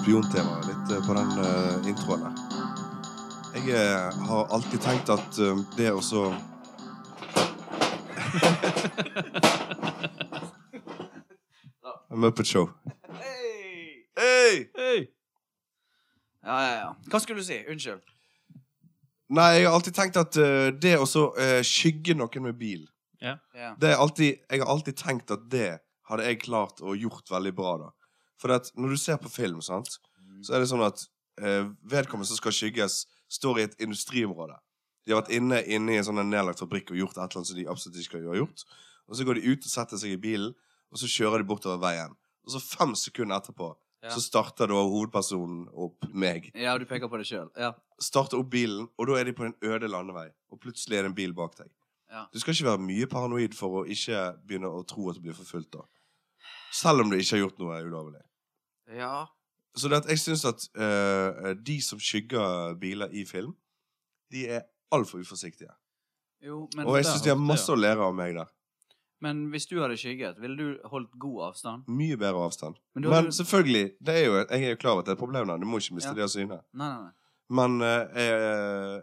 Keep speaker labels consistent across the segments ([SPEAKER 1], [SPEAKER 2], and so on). [SPEAKER 1] religiontemaet litt eh, på den eh, introen der. Jeg eh, har alltid tenkt at eh, det å så Muppet Show.
[SPEAKER 2] Hei!
[SPEAKER 1] Hey!
[SPEAKER 2] Hei! Ja, ja, ja. Hva skulle du si? Unnskyld.
[SPEAKER 1] Nei, jeg har alltid tenkt at eh, det å så eh, skygge noen med bil
[SPEAKER 2] Ja.
[SPEAKER 1] det er alltid, Jeg har alltid tenkt at det hadde jeg klart og gjort veldig bra, da. For at når du ser på film, sant,
[SPEAKER 2] Mm.
[SPEAKER 1] så er det sånn at eh, vedkommende som skal skygges, står i et industriområde. De har vært inne, inne i en sånn nedlagt fabrikk og gjort et eller annet som de absolutt ikke skal ha gjort. Og så går de ut og setter seg i bilen, og så kjører de bortover veien. Og så fem sekunder etterpå
[SPEAKER 2] Ja.
[SPEAKER 1] så starter da hovedpersonen opp meg.
[SPEAKER 2] ja, du peker på det sjøl. Ja.
[SPEAKER 1] Starter opp bilen, og da er de på en øde landevei. Og plutselig er det en bil bak deg.
[SPEAKER 2] Ja.
[SPEAKER 1] Du skal ikke være mye paranoid for å ikke begynne å tro at du blir forfulgt, da. Selv om du ikke har gjort noe ulovlig.
[SPEAKER 2] ja.
[SPEAKER 1] Så det at jeg syns at eh, de som skygger biler i film, de er altfor uforsiktige.
[SPEAKER 2] Jo, men,
[SPEAKER 1] Og jeg
[SPEAKER 3] der
[SPEAKER 1] syns de har
[SPEAKER 3] hørte
[SPEAKER 1] masse
[SPEAKER 3] jeg.
[SPEAKER 1] å lære av meg der.
[SPEAKER 2] men hvis du hadde skygget, ville du holdt god avstand?
[SPEAKER 1] Mye bedre avstand.
[SPEAKER 2] Men
[SPEAKER 1] Men,
[SPEAKER 2] du hadde-
[SPEAKER 1] selvfølgelig, det er jo, jeg er jo klar over at det er et problem der. Du må ikke miste
[SPEAKER 2] Ja.
[SPEAKER 1] det av syne.
[SPEAKER 2] Nei, nei, nei.
[SPEAKER 1] Men eh,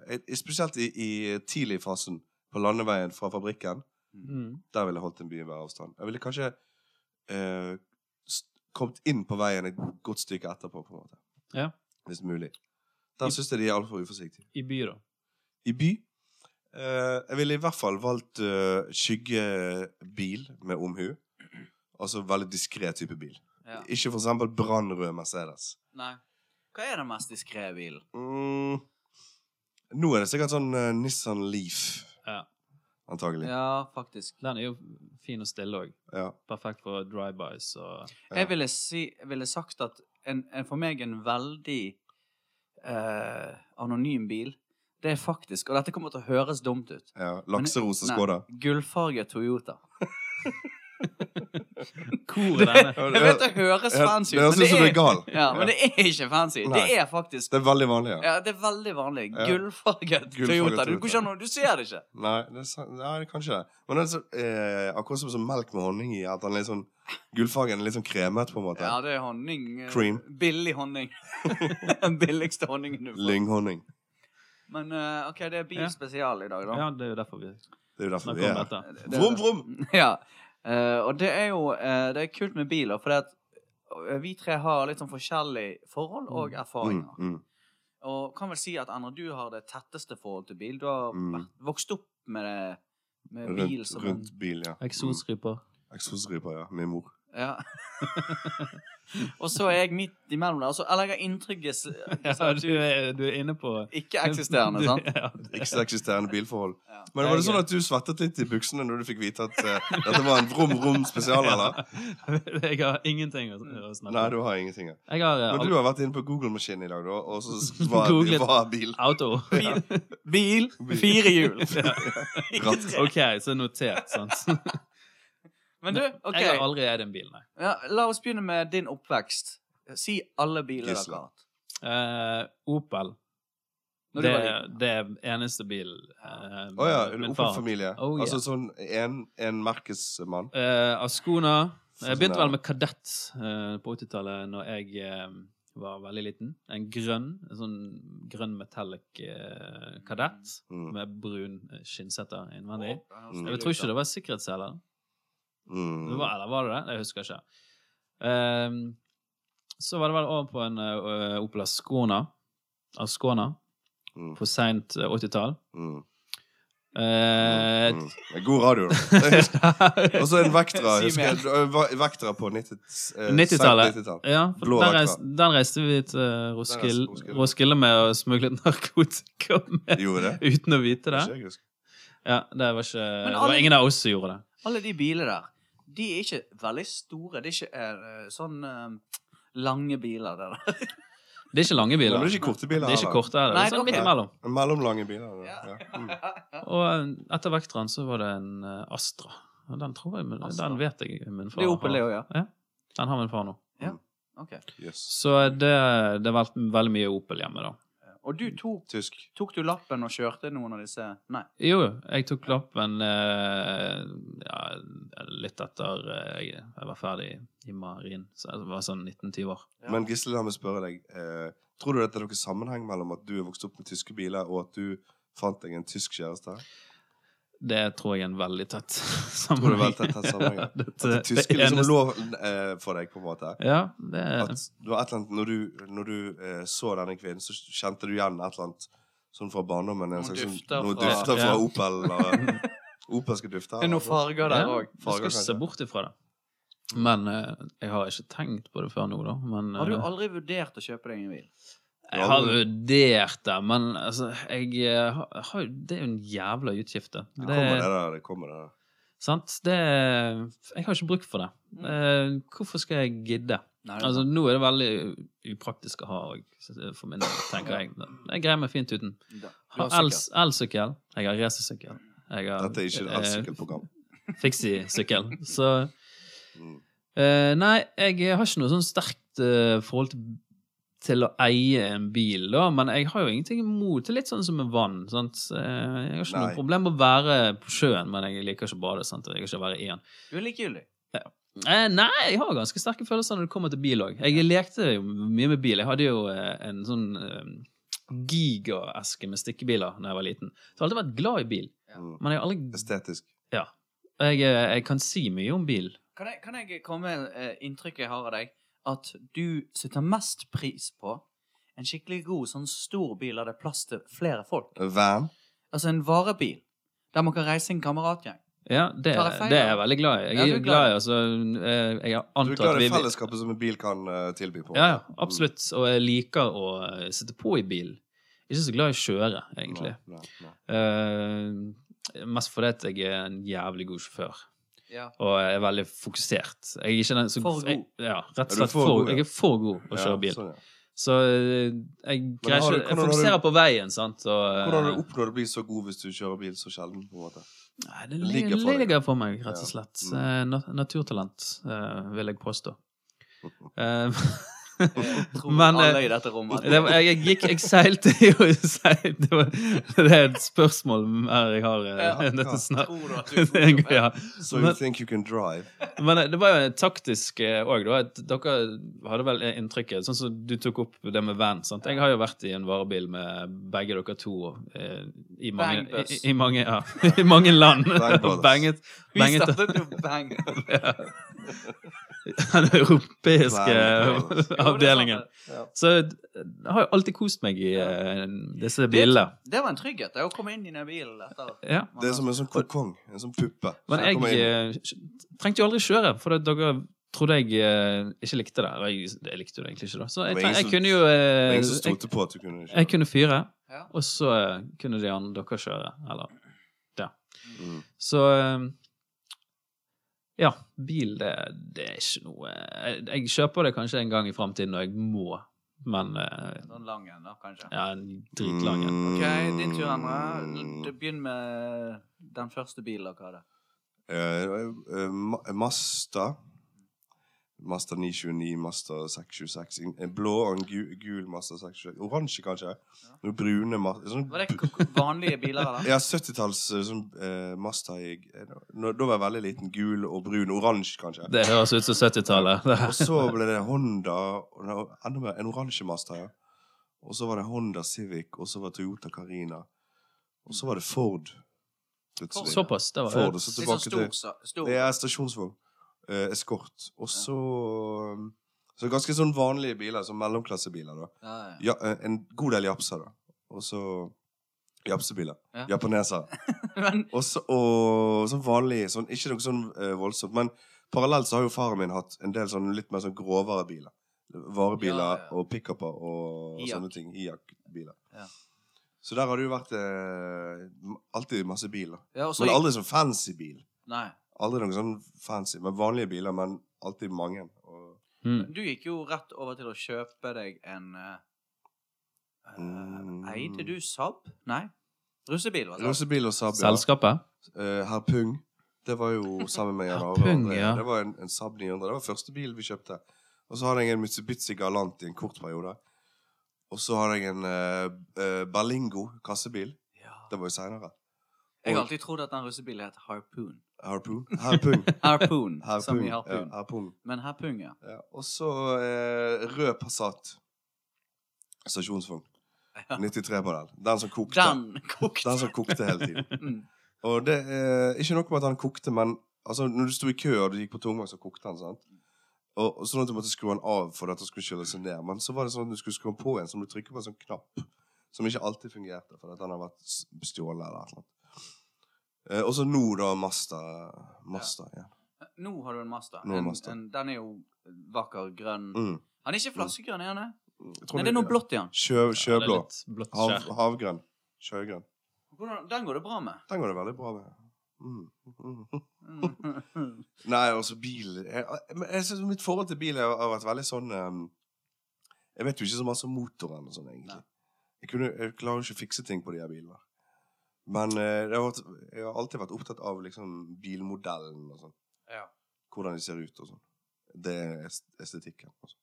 [SPEAKER 1] eh, eh, spesielt i, i tidligfasen på landeveien fra fabrikken,
[SPEAKER 3] Mm.
[SPEAKER 1] Der ville jeg holdt en mye bedre avstand. Jeg ville kanskje eh, s- kommet inn på veien et godt stykke etterpå, på en måte.
[SPEAKER 3] Ja.
[SPEAKER 1] Hvis mulig. Der syns jeg de er altfor uforsiktige.
[SPEAKER 3] I by, da.
[SPEAKER 1] I by eh, Jeg ville i hvert fall valgt eh, skyggebil med omhu. Altså veldig diskré type bil.
[SPEAKER 2] Ja.
[SPEAKER 1] Ikke for eksempel brannrød Mercedes.
[SPEAKER 2] nei. Hva er den mest diskré bilen?
[SPEAKER 1] Mm. Nå er det sikkert sånn eh, Nissan Leaf.
[SPEAKER 3] Ja.
[SPEAKER 1] Antagelig.
[SPEAKER 2] Ja, faktisk.
[SPEAKER 3] Den er jo fin og stille òg.
[SPEAKER 1] Ja.
[SPEAKER 3] Perfekt for drive-bys og
[SPEAKER 1] Ja.
[SPEAKER 2] Jeg ville, si, jeg ville sagt at en, en, for meg en veldig eh, anonym bil, det er faktisk Og dette kommer til å høres dumt ut.
[SPEAKER 1] ja. Lakserosa
[SPEAKER 2] Nei.
[SPEAKER 1] Skoda.
[SPEAKER 2] Gullfarget Toyota.
[SPEAKER 3] Hvor
[SPEAKER 2] Det,
[SPEAKER 3] er denne?
[SPEAKER 1] Ja,
[SPEAKER 2] jeg
[SPEAKER 1] det-
[SPEAKER 2] vet det høres
[SPEAKER 1] Ja,
[SPEAKER 2] fancy ut,
[SPEAKER 1] det
[SPEAKER 2] men
[SPEAKER 1] høres ut
[SPEAKER 2] det
[SPEAKER 1] som du er
[SPEAKER 2] er-
[SPEAKER 1] gal.
[SPEAKER 2] ja, men det er ikke fancy. Det
[SPEAKER 1] Nei.
[SPEAKER 2] er faktisk
[SPEAKER 1] Det er veldig vanlig, ja.
[SPEAKER 2] ja, Det er veldig vanlig.
[SPEAKER 1] Ja.
[SPEAKER 2] Gullfarget
[SPEAKER 1] Gullfarget
[SPEAKER 2] Toyota. Du,
[SPEAKER 1] Toyota.
[SPEAKER 2] går ikke an å- du ser det ikke.
[SPEAKER 1] Nei, det er sant. Nei, kanskje det. Men det er så, eh, akkurat som, som melk med honning i, at han er litt sånn Gullfargen er litt sånn kremet, på en måte.
[SPEAKER 2] Ja, det er honning. eh,
[SPEAKER 1] Cream.
[SPEAKER 2] Billig honning. Den billigste honningen du får.
[SPEAKER 1] Lynghonning.
[SPEAKER 2] Men eh, OK, det er
[SPEAKER 3] Ja.
[SPEAKER 2] bilspesial i dag, da.
[SPEAKER 3] Ja, det er jo derfor vi
[SPEAKER 1] Det er jo derfor
[SPEAKER 3] snakker
[SPEAKER 1] vi
[SPEAKER 3] om
[SPEAKER 1] er her.
[SPEAKER 3] dette.
[SPEAKER 2] Det- det-
[SPEAKER 1] Vrom, vrom!
[SPEAKER 2] Ja. Eh, og det er jo eh, det er kult med biler, fordi at eh, vi tre har litt sånn forskjellig forhold og
[SPEAKER 3] Mm.
[SPEAKER 1] Mm,
[SPEAKER 2] erfaringer.
[SPEAKER 1] mm,
[SPEAKER 2] Og kan vel si at Endre, du har det tetteste forhold til bil. Du har
[SPEAKER 1] Mm.
[SPEAKER 2] vært- vokst opp med, det, med bil
[SPEAKER 1] rundt,
[SPEAKER 2] som
[SPEAKER 1] rundt bil, ja.
[SPEAKER 3] Eksosryper.
[SPEAKER 1] Mm. Eksosryper, ja. Min mor.
[SPEAKER 2] Ja. og så er jeg midt imellom der. Altså, eller jeg har inntrykket altså,
[SPEAKER 3] Ja, du er, du er inne på
[SPEAKER 2] ikke-eksisterende,
[SPEAKER 3] Du-
[SPEAKER 2] sant?
[SPEAKER 3] Ja,
[SPEAKER 1] Ikke-eksisterende bilforhold.
[SPEAKER 2] Ja.
[SPEAKER 1] Men var det sånn at du svettet litt i buksene når du fikk vite at eh, dette var en vrom-vrom-spesial, eller?
[SPEAKER 3] jeg har ingenting å, å snakke
[SPEAKER 1] Nei, du har ingenting. Ja.
[SPEAKER 3] Jeg har eh,
[SPEAKER 1] Men du har vært inne på Google-maskinen i dag, da, og så var,
[SPEAKER 3] Googlet.
[SPEAKER 1] var bil.
[SPEAKER 3] auto.
[SPEAKER 2] Bil, bil fire hjul. Ikke
[SPEAKER 1] Ratt.
[SPEAKER 2] tre.
[SPEAKER 3] OK, så notert, sant.
[SPEAKER 2] Men du, OK.
[SPEAKER 3] Jeg har aldri eid en bil, nei.
[SPEAKER 2] Ja, la oss begynne med din oppvekst. Si alle biler dere
[SPEAKER 1] Gisla.
[SPEAKER 2] har hatt.
[SPEAKER 3] Eh, Opel.
[SPEAKER 2] Når
[SPEAKER 3] Det,
[SPEAKER 2] du var liten.
[SPEAKER 3] det er eneste bilen uh,
[SPEAKER 1] Å ja. En Opel-familie.
[SPEAKER 3] Oh,
[SPEAKER 1] Altså
[SPEAKER 3] yeah.
[SPEAKER 1] sånn en, en merkesmann.
[SPEAKER 3] Eh, Ascona. Jeg begynte
[SPEAKER 1] Sånn,
[SPEAKER 3] vel med kadett eh, på 80-tallet, når jeg eh, var veldig liten. En grønn, en sånn grønn metallic eh, kadett
[SPEAKER 1] mm,
[SPEAKER 3] med brun eh, skinnsetter innvendig.
[SPEAKER 1] Mm.
[SPEAKER 3] Jeg tror ikke det var sikkerhetsseler.
[SPEAKER 1] mm.
[SPEAKER 3] Det var, eller var det det? Jeg husker ikke. Ehm, så var det vel over på en eh, Opel Ascona, Ascona
[SPEAKER 1] Mm.
[SPEAKER 3] på seint eh, 80-tall.
[SPEAKER 1] Mm.
[SPEAKER 3] Eh,
[SPEAKER 1] Mm. Det er god radio, da. Og så en Vectra.
[SPEAKER 2] Si
[SPEAKER 1] Husker
[SPEAKER 2] mer.
[SPEAKER 1] jeg, det var Vectra på 90, eh,
[SPEAKER 3] 90-tallet.
[SPEAKER 1] sent 90-tall.
[SPEAKER 3] ja, for
[SPEAKER 1] Blå
[SPEAKER 3] den,
[SPEAKER 1] Vectra.
[SPEAKER 3] reiste, den reiste vi til eh,
[SPEAKER 1] reiste
[SPEAKER 3] Roskilde,
[SPEAKER 1] Roskilde.
[SPEAKER 3] Roskilde med og smuglet narkotika med
[SPEAKER 1] Gjorde det?
[SPEAKER 3] uten å vite det.
[SPEAKER 1] Ikke jeg husker.
[SPEAKER 3] Ja, det var ikke Det
[SPEAKER 2] alle-
[SPEAKER 3] var ingen av oss som gjorde det.
[SPEAKER 2] Alle de bilene der, de er ikke veldig store. Det er ikke eh, sånn eh, lange biler. det der.
[SPEAKER 3] Det er ikke lange
[SPEAKER 1] Men
[SPEAKER 3] biler.
[SPEAKER 1] det er ikke korte biler
[SPEAKER 3] Det er ikke
[SPEAKER 1] heller.
[SPEAKER 3] korte heller.
[SPEAKER 2] Nei,
[SPEAKER 3] Det er
[SPEAKER 2] det
[SPEAKER 3] sånn
[SPEAKER 2] er
[SPEAKER 3] midt
[SPEAKER 1] ok.
[SPEAKER 3] imellom.
[SPEAKER 1] Mellomlange biler. da.
[SPEAKER 2] Ja.
[SPEAKER 1] Ja. Mm.
[SPEAKER 3] Og eh, etter Vectraen så var det en eh, Astra. Og den tror jeg,
[SPEAKER 2] Astra.
[SPEAKER 3] den vet jeg min far
[SPEAKER 2] Det er Opel, det
[SPEAKER 3] har.
[SPEAKER 2] òg, ja.
[SPEAKER 3] Den har min far nå.
[SPEAKER 2] Ok.
[SPEAKER 1] Yes.
[SPEAKER 3] Så det, det har vært veldig mye Opel hjemme, da.
[SPEAKER 2] Og du tok,
[SPEAKER 1] Tysk.
[SPEAKER 2] tok du lappen og kjørte noen av disse? Nei.
[SPEAKER 3] Jo, jo, jeg tok lappen eh, ja, litt etter eh, jeg var ferdig i marien. Så jeg var sånn 19-20 år.
[SPEAKER 2] Ja.
[SPEAKER 1] Men Gisle, la meg spørre deg. Eh, tror du at det er noen sammenheng mellom at du er vokst opp med tyske biler, og at du fant deg en tysk kjæreste?
[SPEAKER 3] Det tror jeg er en veldig tett
[SPEAKER 1] Tror du det er
[SPEAKER 3] sammenheng.
[SPEAKER 1] veldig tett sammenheng?
[SPEAKER 3] Ja, det,
[SPEAKER 1] At det tyske
[SPEAKER 3] det
[SPEAKER 1] liksom
[SPEAKER 3] eneste-
[SPEAKER 1] lå eh, for deg, på en måte?
[SPEAKER 3] Ja, det
[SPEAKER 1] At det var et eller annet, når du, når du eh, så denne kvinnen, så kjente du igjen et eller annet sånn fra barndommen?
[SPEAKER 2] Noen
[SPEAKER 1] En slags, sånn-
[SPEAKER 2] dufter
[SPEAKER 1] noen
[SPEAKER 2] fra-
[SPEAKER 1] dufter fra
[SPEAKER 3] Ja.
[SPEAKER 1] Opel? Eller, Opelske dufter? altså.
[SPEAKER 2] Det er noen farger der
[SPEAKER 3] Ja.
[SPEAKER 2] òg.
[SPEAKER 1] Farger,
[SPEAKER 3] Jeg skal se
[SPEAKER 1] kanskje.
[SPEAKER 3] bort ifra det. Men eh, jeg har ikke tenkt på det før nå, da. Men,
[SPEAKER 2] Har du
[SPEAKER 3] eh,
[SPEAKER 2] aldri vurdert å kjøpe deg en bil?
[SPEAKER 3] jeg har vurdert det, men altså, jeg eh, har- har jo Det er jo en jævla utgift, det.
[SPEAKER 1] Det
[SPEAKER 3] Det-
[SPEAKER 1] kommer det der. det kommer det der.
[SPEAKER 3] Sant? Det Jeg har ikke bruk for det.
[SPEAKER 2] Mm.
[SPEAKER 3] Eh, hvorfor skal jeg gidde?
[SPEAKER 2] Nei, det er
[SPEAKER 3] Altså, nå er det veldig upraktisk å ha òg, for min del, tenker jeg. Jeg greier meg fint uten.
[SPEAKER 2] sant. Da-
[SPEAKER 3] Jeg
[SPEAKER 2] du har
[SPEAKER 3] har els- elsykkel. Jeg har racersykkel. Jeg har
[SPEAKER 1] Dette er ikke et elsykkelprogram.
[SPEAKER 3] eh, Fixie-sykkel. Så
[SPEAKER 1] Mm.
[SPEAKER 3] eh, Nei, jeg har ikke noe sånn sterkt eh, forhold til til å eie en bil, da, men jeg har jo ingenting imot det. Litt sånn som med vann. Sant? Eh, Jeg har ikke
[SPEAKER 1] Nei.
[SPEAKER 3] noe problem med å være på sjøen, men jeg liker ikke å bade. Sant? og Jeg liker ikke å være i den.
[SPEAKER 2] sikkert- Du er likegyldig.
[SPEAKER 3] Eh, nei, jeg har ganske sterke følelser når det kommer til bil òg. Jeg lekte jo mye med bil. Jeg hadde jo eh, en sånn eh, gigaeske med stikkebiler da jeg var liten. Så jeg har alltid vært glad i bil.
[SPEAKER 1] Mm.
[SPEAKER 3] Men jeg, har aldri,
[SPEAKER 1] Estetisk.
[SPEAKER 3] jeg, eh, jeg kan si mye om bil.
[SPEAKER 2] Kan jeg, kan jeg komme med eh, inntrykket jeg har av deg? At du setter mest pris på en skikkelig god, sånn stor bil der det er plass til flere folk.
[SPEAKER 1] Van.
[SPEAKER 2] Altså en varebil. Der man kan reise en kameratgjeng.
[SPEAKER 3] Ja, det,
[SPEAKER 2] Tar jeg feil,
[SPEAKER 3] det er jeg
[SPEAKER 2] da?
[SPEAKER 3] veldig glad i. Jeg
[SPEAKER 2] Ja, du
[SPEAKER 3] er
[SPEAKER 2] er glad
[SPEAKER 3] glad
[SPEAKER 2] i
[SPEAKER 3] i altså, eh, Jeg har
[SPEAKER 1] Du er
[SPEAKER 3] antatt
[SPEAKER 1] glad i fellesskapet som en bil kan eh, tilby? på en
[SPEAKER 3] Ja, ja,
[SPEAKER 1] måte.
[SPEAKER 3] absolutt. Og jeg liker å eh, sitte på i bil. Ikke så glad i å kjøre,
[SPEAKER 1] Mm.
[SPEAKER 3] egentlig.
[SPEAKER 1] Nei, nei, nei.
[SPEAKER 3] Eh, mest fordi at jeg er en jævlig god sjåfør.
[SPEAKER 2] Ja.
[SPEAKER 3] og jeg er veldig fokusert. Jeg er ikke den, så,
[SPEAKER 2] For god.
[SPEAKER 3] Jeg, ja, rett
[SPEAKER 1] Er
[SPEAKER 3] og
[SPEAKER 1] du
[SPEAKER 3] slett
[SPEAKER 1] for
[SPEAKER 3] for,
[SPEAKER 1] god, ja?
[SPEAKER 3] Jeg er for god å
[SPEAKER 1] Ja,
[SPEAKER 3] kjøre bil.
[SPEAKER 1] sånn, ja.
[SPEAKER 3] Så eh, jeg greier
[SPEAKER 1] har
[SPEAKER 3] ikke
[SPEAKER 1] du-
[SPEAKER 3] Jeg
[SPEAKER 1] hvordan har du-
[SPEAKER 3] fokuserer på veien, sant. Og, eh,
[SPEAKER 1] Hvordan har du oppnådd å bli så god hvis du kjører bil så sjelden? på en måte?
[SPEAKER 3] nei, det
[SPEAKER 1] ligger
[SPEAKER 3] ligger,
[SPEAKER 1] for deg?
[SPEAKER 3] ligger for meg, rett og slett.
[SPEAKER 1] Ja.
[SPEAKER 3] Eh, nat- naturtalent, eh, vil jeg påstå. Eh,
[SPEAKER 2] Jeg tror
[SPEAKER 3] Men, eh,
[SPEAKER 2] alle i dette rommet
[SPEAKER 3] det var, jeg, jeg gikk Jeg seilte jo seil- det, var, det er et spørsmål mer jeg har eh,
[SPEAKER 1] Ja,
[SPEAKER 3] dette
[SPEAKER 1] ja.
[SPEAKER 3] snart.
[SPEAKER 2] tror du at du er god
[SPEAKER 3] Ja.
[SPEAKER 1] So you
[SPEAKER 3] Men-
[SPEAKER 1] think you can drive?
[SPEAKER 3] Men eh, det var jo taktisk eh, òg, da. At dere hadde vel inntrykket Sånn som du tok opp det med van. sant? Jeg har jo vært i en varebil med begge dere to eh, i mange, i,
[SPEAKER 2] Bangbus.
[SPEAKER 3] i mange, ja, i mange land.
[SPEAKER 1] Bangbrothers.
[SPEAKER 3] Banget,
[SPEAKER 2] Vi
[SPEAKER 3] banget
[SPEAKER 2] startet jo bang.
[SPEAKER 3] ja. Den europeiske
[SPEAKER 1] Bangbrothers.
[SPEAKER 3] avdelingen.
[SPEAKER 1] Ja.
[SPEAKER 3] Så jeg har jo alltid kost meg i eh, disse bilene.
[SPEAKER 2] Det var en trygghet, det å komme inn i den bilen etter
[SPEAKER 3] Ja.
[SPEAKER 1] Det er som en sånn kokong. En sånn puppe.
[SPEAKER 3] Men
[SPEAKER 1] som kommer inn.
[SPEAKER 3] jeg eh, trengte jo aldri kjøre, for at dere trodde jeg eh, ikke likte det. Og jeg, jeg likte jo det egentlig ikke, da. Så jeg,
[SPEAKER 1] Det var
[SPEAKER 3] treng-
[SPEAKER 1] ingen
[SPEAKER 3] jeg
[SPEAKER 1] som-
[SPEAKER 3] kunne jo
[SPEAKER 1] Det var
[SPEAKER 3] eh,
[SPEAKER 1] Ingen som
[SPEAKER 3] jeg,
[SPEAKER 1] stolte på at du kunne kjøre.
[SPEAKER 3] jeg kunne fyre,
[SPEAKER 2] Ja.
[SPEAKER 3] og så eh, kunne de andre dere kjøre. Eller
[SPEAKER 1] Mm.
[SPEAKER 3] Så eh, Ja, bil, det, det er ikke noe eh, jeg, jeg kjøper det kanskje en gang i framtiden når jeg må, men eh,
[SPEAKER 2] Sånn lang en, da, kanskje.
[SPEAKER 3] ja, en dritlang en.
[SPEAKER 2] OK,
[SPEAKER 1] Mm.
[SPEAKER 2] din tur, Endre. Begynn med den første bilen dere hadde.
[SPEAKER 1] Eh, Masta. Masta 929, Masta 626. En- En blå og en gu, gul Masta 626. Oransje, kanskje? Noen brune Mazda sånn,
[SPEAKER 2] Var det k- vanlige biler, eller?
[SPEAKER 1] Ja, 70-talls eh, sånn, eh, Mazda jeg, eh, nå- Da var jeg veldig liten. Gul og brun. Oransje, kanskje.
[SPEAKER 3] Det høres ut som 70-tallet. det her.
[SPEAKER 1] Og så ble det Honda og det var Enda mer, en oransje Mazda, ja. Og så var det Honda Civic, og så var det Toyota Carina. Og så var det Ford. Plutselig.
[SPEAKER 3] Såpass. Det var
[SPEAKER 1] Ford, og så
[SPEAKER 2] Litt sånn
[SPEAKER 1] tilbake
[SPEAKER 2] stor,
[SPEAKER 1] til
[SPEAKER 2] så- stor.
[SPEAKER 1] Det er stasjonsvogn. Eh, Eskort. Og så um, Så ganske sånn vanlige biler, sånn mellomklassebiler, da.
[SPEAKER 2] Ja, ja.
[SPEAKER 1] Ja, eh, en god del japser, da. Og så Japsebiler.
[SPEAKER 2] Ja.
[SPEAKER 1] Japanesere.
[SPEAKER 2] Men
[SPEAKER 1] Og så- og sånn vanlig sånn, Ikke noe sånn eh, voldsomt, men parallelt så har jo faren min hatt en del sånn litt mer sånn grovere biler. Varebiler
[SPEAKER 2] Ja, ja.
[SPEAKER 1] og pickuper og, og
[SPEAKER 2] Iak.
[SPEAKER 1] sånne ting. Iak-biler.
[SPEAKER 2] Ja.
[SPEAKER 1] Så der har det jo vært eh, alltid masse biler.
[SPEAKER 2] ja, og så
[SPEAKER 1] Men
[SPEAKER 2] gikk-
[SPEAKER 1] aldri sånn fancy bil.
[SPEAKER 2] Nei.
[SPEAKER 1] Aldri noen sånn fancy, men vanlige biler, men alltid mange. Og,
[SPEAKER 3] Mm.
[SPEAKER 2] Du gikk jo rett over til å kjøpe deg en eh, eh,
[SPEAKER 1] Mm.
[SPEAKER 2] Eide du Saab? Nei. Russebil, var det.
[SPEAKER 1] Rosebil og Saab, ja.
[SPEAKER 3] Selskapet?
[SPEAKER 1] Eh, Herr Pung. Det var jo sammen med Jan
[SPEAKER 3] Herr
[SPEAKER 1] Are. og
[SPEAKER 3] Pung,
[SPEAKER 1] André.
[SPEAKER 3] ja.
[SPEAKER 1] Det var en, en Saab 900. Det var første bil vi kjøpte. Og så hadde jeg en Mitsubishi Galant i en kort periode. Og så har jeg en eh, eh, Berlingo kassebil.
[SPEAKER 2] Ja.
[SPEAKER 1] Det var jo seinere.
[SPEAKER 2] Jeg har alltid trodd at den russebilen het Harpoon.
[SPEAKER 1] Harpoon. Harpoon.
[SPEAKER 2] Harpoon, som
[SPEAKER 1] Harpoon.
[SPEAKER 2] i
[SPEAKER 1] Ja,
[SPEAKER 2] harpoon.
[SPEAKER 1] harpoon.
[SPEAKER 2] Men harpoon, ja.
[SPEAKER 1] Ja. Og så eh, rød Passat. Stasjonsvogn. 93-modell. Den som kokte.
[SPEAKER 2] Den kokte.
[SPEAKER 1] Den som kokte hele tiden.
[SPEAKER 2] Mm.
[SPEAKER 1] Og det er ikke noe med at han kokte, men altså, når du sto i kø og du gikk på tomgang, så kokte han. sant? Og, og Sånn at du måtte skru han av for at han skulle kjøle seg ned. Men så var det sånn at du skulle skru han på igjen, så må du trykke på en sånn knapp som ikke alltid fungerte, fordi at han har vært s- stjålet eller et eller annet. Eh, og så nå, da, Masta. Masta, ja.
[SPEAKER 2] Nå har du en Mazda.
[SPEAKER 1] Nå er
[SPEAKER 2] En,
[SPEAKER 1] Mazda.
[SPEAKER 2] en, den er jo vakker, grønn.
[SPEAKER 1] Mm.
[SPEAKER 2] Han er ikke flaskegrønn, er han det?
[SPEAKER 1] Jeg tror
[SPEAKER 2] Nei, det er noe blått i han.
[SPEAKER 1] Sjø,
[SPEAKER 3] Ja, det er
[SPEAKER 1] sjøblå.
[SPEAKER 3] litt blått
[SPEAKER 1] Hav,
[SPEAKER 3] skjær.
[SPEAKER 1] havgrønn. Sjøgrønn.
[SPEAKER 2] Hvordan- Den går det bra med.
[SPEAKER 1] Den går det veldig bra med. Mm. Mm.
[SPEAKER 2] Mm.
[SPEAKER 1] Nei, altså bil jeg, men jeg synes Mitt forhold til bil har har vært veldig sånn ehm, Jeg vet jo ikke så masse om motoren og sånn, egentlig.
[SPEAKER 2] Nei.
[SPEAKER 1] Jeg, kunne, jeg klarer jo ikke å fikse ting på de her bilene. Men eh, det har vært, jeg har alltid vært opptatt av liksom bilmodellen og sånn.
[SPEAKER 2] Ja.
[SPEAKER 1] Hvordan de ser ut og sånn. Det er est- estetikken. Og sånn.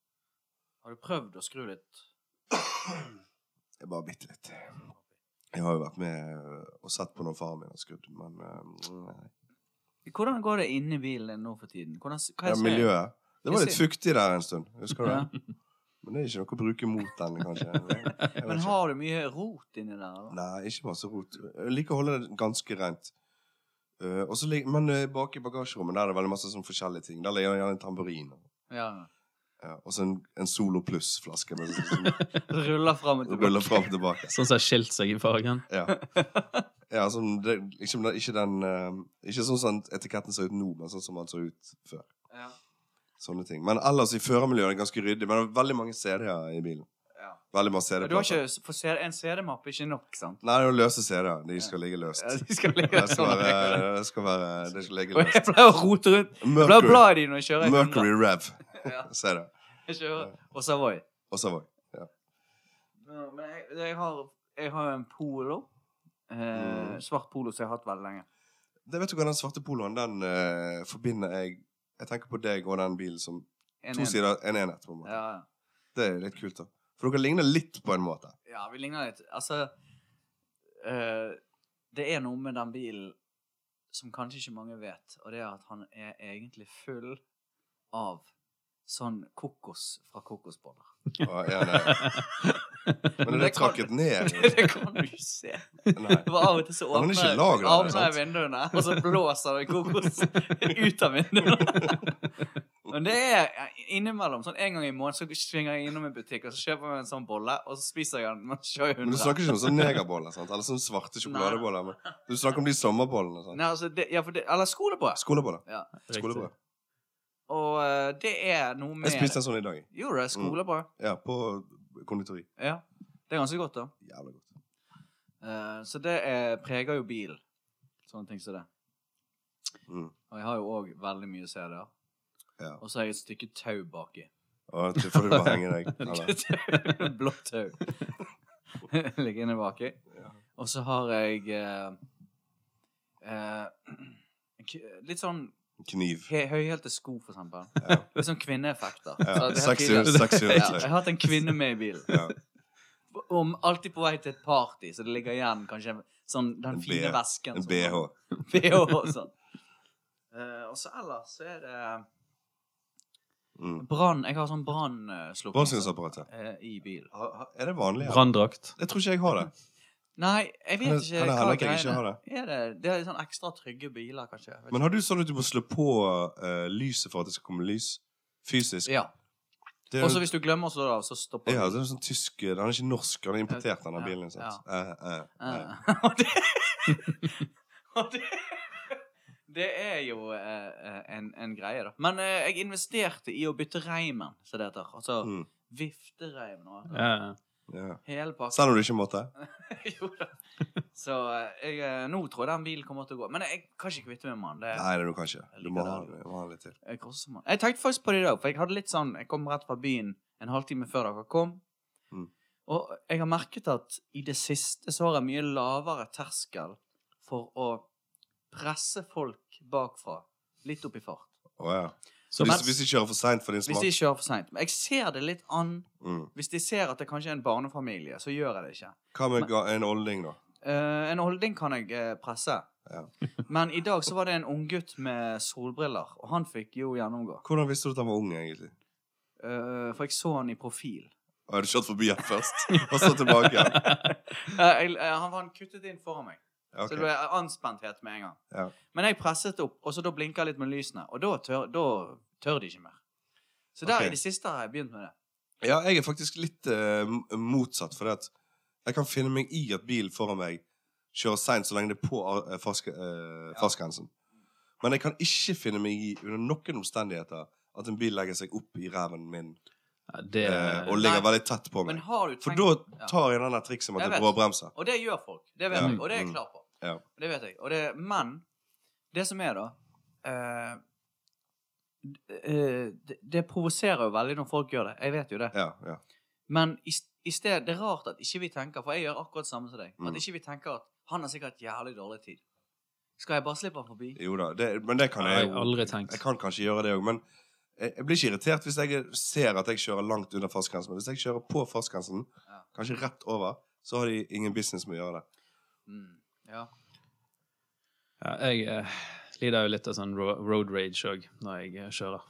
[SPEAKER 2] Har du prøvd å skru litt?
[SPEAKER 1] jeg bare bitte litt. Jeg har jo vært med eh, og sett på når faren min har skrudd, men ehm, nei.
[SPEAKER 2] Hvordan går det inni bilen din nå for tiden? Hvordan, s- hva
[SPEAKER 1] ja,
[SPEAKER 2] jeg ser?
[SPEAKER 1] Miljøet. Det var
[SPEAKER 2] Jeg
[SPEAKER 1] litt
[SPEAKER 2] ser-
[SPEAKER 1] fuktig der en stund. Husker du
[SPEAKER 2] Ja.
[SPEAKER 1] det? Men det er ikke noe å bruke mot den, kanskje. Jeg vet
[SPEAKER 2] Men
[SPEAKER 1] ikke.
[SPEAKER 2] har du mye rot inni der? eller?
[SPEAKER 1] Nei, ikke masse rot. Jeg liker å holde det ganske rent. Eh, og så lig- men eh, bak i bagasjerommet der er det veldig masse sånn forskjellige ting. Der ligger det gjerne en tamburin.
[SPEAKER 2] Ja.
[SPEAKER 1] Ja, og så en, en Solo Pluss-flaske med- som
[SPEAKER 2] Ruller fram og tilbake.
[SPEAKER 1] ruller fram og tilbake.
[SPEAKER 3] Sånn som har skilt seg i fargen.
[SPEAKER 1] Ja. ja sånn, det, liksom, det, ikke, den, eh, ikke sånn som etiketten ser ut nå, men sånn som den så ut før.
[SPEAKER 2] Ja.
[SPEAKER 1] Sånne ting. Men ellers i førermiljøet er det ganske ryddig. Men det er veldig mange CD-er i bilen.
[SPEAKER 2] Ja.
[SPEAKER 1] Veldig mange
[SPEAKER 2] Du har
[SPEAKER 1] CD-plater.
[SPEAKER 2] ikke, for CD en CD-mappe er ikke nok, sant?
[SPEAKER 1] Nei, det er jo løse CD-er. De skal ligge løst.
[SPEAKER 2] Ja, de skal ligge
[SPEAKER 1] Det skal
[SPEAKER 2] sånn.
[SPEAKER 1] være, det skal være Det skal ligge
[SPEAKER 2] Og jeg
[SPEAKER 1] løst.
[SPEAKER 2] pleier å rote rundt. Jeg pleier å
[SPEAKER 1] Mercury.
[SPEAKER 2] bla i de når jeg kjører. i hundre.
[SPEAKER 1] Mercury Rev.
[SPEAKER 2] Ja,
[SPEAKER 1] Se det.
[SPEAKER 2] jeg kjører. Og Savoy.
[SPEAKER 1] Og så var
[SPEAKER 2] Ja, Men jeg, jeg, har, jeg har en polo. Eh,
[SPEAKER 1] Mm.
[SPEAKER 2] svart polo som jeg har hatt veldig lenge.
[SPEAKER 1] det, Vet du hva, den svarte poloen, den eh, forbinder jeg Jeg tenker på deg og den bilen som
[SPEAKER 2] En,
[SPEAKER 1] to
[SPEAKER 2] en.
[SPEAKER 1] sider, en enhet, på en måte.
[SPEAKER 2] Ja, ja.
[SPEAKER 1] Det er litt kult, da. For dere ligner litt på en måte.
[SPEAKER 2] Ja, vi ligner litt. Altså eh, Det er noe med den bilen som kanskje ikke mange vet, og det er at han er egentlig full av sånn kokos fra kokosboller.
[SPEAKER 1] Og en, enhet. Men det,
[SPEAKER 2] Det kan-
[SPEAKER 1] trakket ned.
[SPEAKER 2] det kan du ikke se.
[SPEAKER 1] Nei.
[SPEAKER 2] For av og til så
[SPEAKER 1] Ja, men
[SPEAKER 2] åpner
[SPEAKER 1] det er
[SPEAKER 2] jeg
[SPEAKER 1] ikke lagret,
[SPEAKER 2] åpner jeg
[SPEAKER 1] sant?
[SPEAKER 2] vinduene, og så blåser det kokos ut av vinduene. Men det er innimellom. Sånn en gang i måneden så svinger jeg innom en butikk og så kjøper jeg meg en sånn bolle, og så spiser jeg den. Men så kjører
[SPEAKER 1] Men
[SPEAKER 2] jeg
[SPEAKER 1] du
[SPEAKER 2] hundre.
[SPEAKER 1] snakker ikke om sånn negerboller, sant? Eller sånn svarte sjokoladeboller. Men du snakker om de sommerbollene. sant?
[SPEAKER 2] Nei, altså, det, ja, for det, eller skolebrød.
[SPEAKER 1] Skoleboller.
[SPEAKER 2] Ja.
[SPEAKER 1] Skolebrød.
[SPEAKER 2] Og eh, det er noe med
[SPEAKER 1] Jeg spiste en sånn i dag. jeg.
[SPEAKER 2] Jo, det er skolebrød.
[SPEAKER 1] Ja, på konditori.
[SPEAKER 2] Ja. Det er ganske godt, da.
[SPEAKER 1] Jævla godt.
[SPEAKER 2] Eh, så det er, preger jo bilen. Sånne ting som det.
[SPEAKER 1] Mm.
[SPEAKER 2] Og jeg har jo òg veldig mye CD-er.
[SPEAKER 1] Ja.
[SPEAKER 2] Og så har jeg et stykke tau baki.
[SPEAKER 1] Og så får du bare henge deg. Eller?
[SPEAKER 2] Blått tau. Ligger inne baki.
[SPEAKER 1] Ja.
[SPEAKER 2] Og så har jeg eh, eh, k- Litt sånn
[SPEAKER 1] Kniv.
[SPEAKER 2] he- høyhælte sko, for eksempel.
[SPEAKER 1] Ja.
[SPEAKER 2] Litt sånn kvinneeffekter.
[SPEAKER 1] Ja.
[SPEAKER 2] Så det er helt
[SPEAKER 1] Sexy,
[SPEAKER 2] tydelig at-
[SPEAKER 1] sexy
[SPEAKER 2] Ja, jeg
[SPEAKER 1] undertøy.
[SPEAKER 2] har hatt en kvinne med i bilen.
[SPEAKER 1] Ja.
[SPEAKER 2] Om alltid på vei til et party, så det ligger igjen kanskje en- sånn den
[SPEAKER 1] En
[SPEAKER 2] fine
[SPEAKER 1] B-
[SPEAKER 2] vesken.
[SPEAKER 1] En
[SPEAKER 2] som-
[SPEAKER 1] BH.
[SPEAKER 2] BH og sånn. Eh, og så ellers så er det eh,
[SPEAKER 1] Mm.
[SPEAKER 2] brann Jeg har sånn brannslukking
[SPEAKER 1] Brannslukningsapparatet.
[SPEAKER 2] eh, i bil.
[SPEAKER 1] Ha- ha- Er det vanlig? her?
[SPEAKER 3] Branndrakt.
[SPEAKER 1] Jeg tror ikke jeg har det.
[SPEAKER 2] Nei, jeg vet
[SPEAKER 1] Kan det-
[SPEAKER 2] ikke
[SPEAKER 1] kan det hende
[SPEAKER 2] hva
[SPEAKER 1] at jeg ikke
[SPEAKER 2] greiene
[SPEAKER 1] har
[SPEAKER 2] er. Det, det er sånn ekstra trygge biler, kanskje. Jeg vet
[SPEAKER 1] Men har du sånn at du må slå på eh, lyset for at det skal komme lys?
[SPEAKER 2] ikke.
[SPEAKER 1] Fysisk?
[SPEAKER 2] ja.
[SPEAKER 1] Det er,
[SPEAKER 2] Og så
[SPEAKER 1] jo-
[SPEAKER 2] hvis du glemmer å slå det av, så stopper
[SPEAKER 1] ja, det er jo sånn tysk Den er ikke norsk, den er importert, den
[SPEAKER 2] Ja,
[SPEAKER 1] bilen. Sant? Eh, eh, eh.
[SPEAKER 2] Eh, og det, og det, det er jo eh, eh, en, en greie, da. Men eh, jeg investerte i å bytte reimen, som det heter. Altså
[SPEAKER 1] Mm,
[SPEAKER 2] viftereim. og-
[SPEAKER 3] Ja.
[SPEAKER 1] ja.
[SPEAKER 2] Hele pakken.
[SPEAKER 1] Selv om du ikke måtte?
[SPEAKER 2] jo da. Så eh, jeg, eh, nå tror jeg den bilen kommer til å gå. Men jeg kan ikke kvitte meg med den. Det er,
[SPEAKER 1] Nei, det er du kan ikke. Du må ha, du må ha litt til.
[SPEAKER 2] jeg, koser meg. jeg tenkte faktisk på det i dag, for jeg hadde litt sånn Jeg kom rett fra byen en halvtime før dere kom.
[SPEAKER 1] Mm.
[SPEAKER 2] Og jeg har merket at i det siste så har jeg mye lavere terskel for å presse folk bakfra litt opp i fart.
[SPEAKER 1] Å ja.
[SPEAKER 3] Så,
[SPEAKER 1] hvis,
[SPEAKER 2] men-
[SPEAKER 1] hvis de kjører for seint for din
[SPEAKER 2] Hvis
[SPEAKER 1] smak.
[SPEAKER 2] de kjører for seint. Men jeg ser det litt an.
[SPEAKER 1] Mm.
[SPEAKER 2] Hvis de ser at det kanskje er en barnefamilie, så gjør jeg det ikke.
[SPEAKER 1] Hva med
[SPEAKER 2] Men-
[SPEAKER 1] ga- en olding, da?
[SPEAKER 2] Eh, en holdning kan jeg eh, presse.
[SPEAKER 1] Ja.
[SPEAKER 2] Men i dag så var det en unggutt med solbriller, og han fikk jo gjennomgå.
[SPEAKER 1] Hvordan visste du at han var ung, egentlig?
[SPEAKER 2] Eh, for jeg så han i profil.
[SPEAKER 1] Og hadde kjørt forbi han først, og så tilbake igjen?
[SPEAKER 2] Eh, jeg, eh, han var han kuttet inn foran meg,
[SPEAKER 1] Ja, ok.
[SPEAKER 2] så det ble anspenthet med en gang.
[SPEAKER 1] Ja.
[SPEAKER 2] Men jeg presset opp, og så da blinka jeg litt med lysene, og da tør, da tør de ikke mer. Så der
[SPEAKER 1] Ok.
[SPEAKER 2] i det siste har jeg begynt med det.
[SPEAKER 1] Ja, jeg er faktisk litt eh, m- motsatt, for at jeg kan finne meg i at bilen foran meg kjører seint så lenge det er på eh, farske- eh, fartsgrensen. Men jeg kan ikke finne meg i under noen omstendigheter at en bil legger seg opp i ræven min
[SPEAKER 3] ja, det,
[SPEAKER 1] eh, og ligger
[SPEAKER 2] Nei.
[SPEAKER 1] veldig tett på
[SPEAKER 2] Men
[SPEAKER 1] meg.
[SPEAKER 2] har du
[SPEAKER 1] For
[SPEAKER 2] tenkt
[SPEAKER 1] da
[SPEAKER 2] Ja.
[SPEAKER 1] tar jeg den der trikset med
[SPEAKER 2] Jeg
[SPEAKER 1] at jeg
[SPEAKER 2] vet.
[SPEAKER 1] bråbremser.
[SPEAKER 2] Og det gjør folk. Det vet
[SPEAKER 1] Ja.
[SPEAKER 2] jeg, og det er
[SPEAKER 1] Mm.
[SPEAKER 2] jeg klar på.
[SPEAKER 1] Ja.
[SPEAKER 2] Det vet jeg. Og det, men det som er, da eh, d- eh, det, det provoserer jo veldig når folk gjør det. Jeg vet jo det.
[SPEAKER 1] Ja, ja.
[SPEAKER 2] Men i, s- i sted, det er rart at ikke vi tenker For jeg gjør akkurat samme som deg.
[SPEAKER 1] Mm.
[SPEAKER 2] At ikke vi tenker at han har sikkert jævlig dårlig tid. Skal jeg bare slippe han forbi?
[SPEAKER 1] Jo da. Det, men det kan
[SPEAKER 3] har
[SPEAKER 1] jeg
[SPEAKER 3] jeg
[SPEAKER 1] jo.
[SPEAKER 3] aldri tenkt.
[SPEAKER 1] Jeg kan kanskje gjøre det òg, men jeg, jeg blir ikke irritert hvis jeg ser at jeg kjører langt under fartsgrensen. Men hvis jeg kjører på fartsgrensen,
[SPEAKER 2] Ja.
[SPEAKER 1] kanskje rett over, så har de ingen business med å gjøre det.
[SPEAKER 2] Mm. Ja.
[SPEAKER 3] Ja, jeg eh, lider jo litt av sånn ro road rage òg når jeg eh, kjører.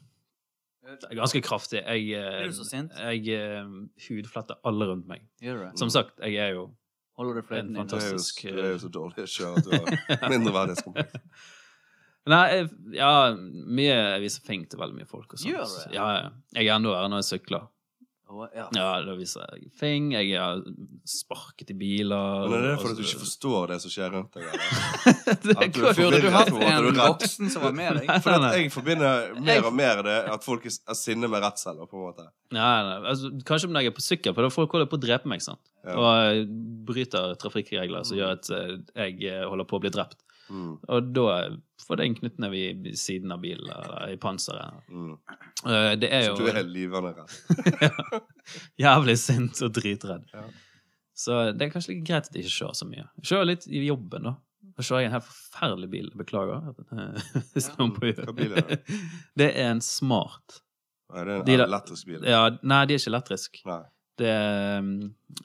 [SPEAKER 3] Det er Ganske kraftig. Jeg, eh,
[SPEAKER 2] Er du så sint?
[SPEAKER 3] jeg eh, hudfletter alle rundt meg.
[SPEAKER 2] Gjør du det?
[SPEAKER 3] Som sagt, jeg er jo
[SPEAKER 2] Holder du fløyten
[SPEAKER 3] En
[SPEAKER 2] inn?
[SPEAKER 1] Du er jo,
[SPEAKER 3] Fantastisk,
[SPEAKER 1] du er jo så dårlig å kjøre at du har mindreverdighetskompleks.
[SPEAKER 3] Nei, jeg, ja, mye, jeg viser fing til veldig mye folk. Og sånt.
[SPEAKER 2] Gjør du det?
[SPEAKER 3] Ja, ja. jeg er enda verre når jeg sykler.
[SPEAKER 2] Å, Ja.
[SPEAKER 3] Ja, da viser jeg fing. Jeg har sparket i biler.
[SPEAKER 1] Men er det
[SPEAKER 3] og
[SPEAKER 1] fordi
[SPEAKER 3] så-
[SPEAKER 1] at du ikke forstår det som skjer rundt deg? eller?
[SPEAKER 3] det
[SPEAKER 1] at du er
[SPEAKER 3] går jo-
[SPEAKER 2] Burde du hatt
[SPEAKER 1] Tror at du er
[SPEAKER 2] en
[SPEAKER 1] redd.
[SPEAKER 2] voksen som var med deg?
[SPEAKER 3] Nei,
[SPEAKER 1] For
[SPEAKER 3] nei,
[SPEAKER 1] at
[SPEAKER 3] nei.
[SPEAKER 1] jeg forbinder mer og mer det at folk er s- er sinne med redsel. på en måte.
[SPEAKER 3] Nei, nei. Altså, kanskje når jeg er på sykkel, for da folk holder på å drepe meg. sant?
[SPEAKER 1] Ja.
[SPEAKER 3] Og jeg bryter trafikkregler som gjør at eh, jeg eh, holder på å bli drept.
[SPEAKER 1] Mm,
[SPEAKER 3] Og da får det en knyttneve i siden av bilen eller i panseret.
[SPEAKER 1] mm.
[SPEAKER 3] Eh, Det er
[SPEAKER 1] Så du er
[SPEAKER 3] jo
[SPEAKER 1] livende redd.
[SPEAKER 3] jævlig sint og dritredd.
[SPEAKER 1] Ja.
[SPEAKER 3] Så eh, det er kanskje like greit at jeg ikke kjører så mye. Kjør litt i jobben, da. Nå kjører jeg en helt forferdelig bil. Beklager. eh, hvis
[SPEAKER 2] Ja.
[SPEAKER 3] noen på-
[SPEAKER 1] Hva bil er det?
[SPEAKER 3] Det er en smart.
[SPEAKER 1] Nei, det
[SPEAKER 3] De
[SPEAKER 1] er
[SPEAKER 3] da-
[SPEAKER 1] en elektrisk bil.
[SPEAKER 3] Ja, nei, de er ikke elektrisk.
[SPEAKER 1] Nei.
[SPEAKER 3] Det er,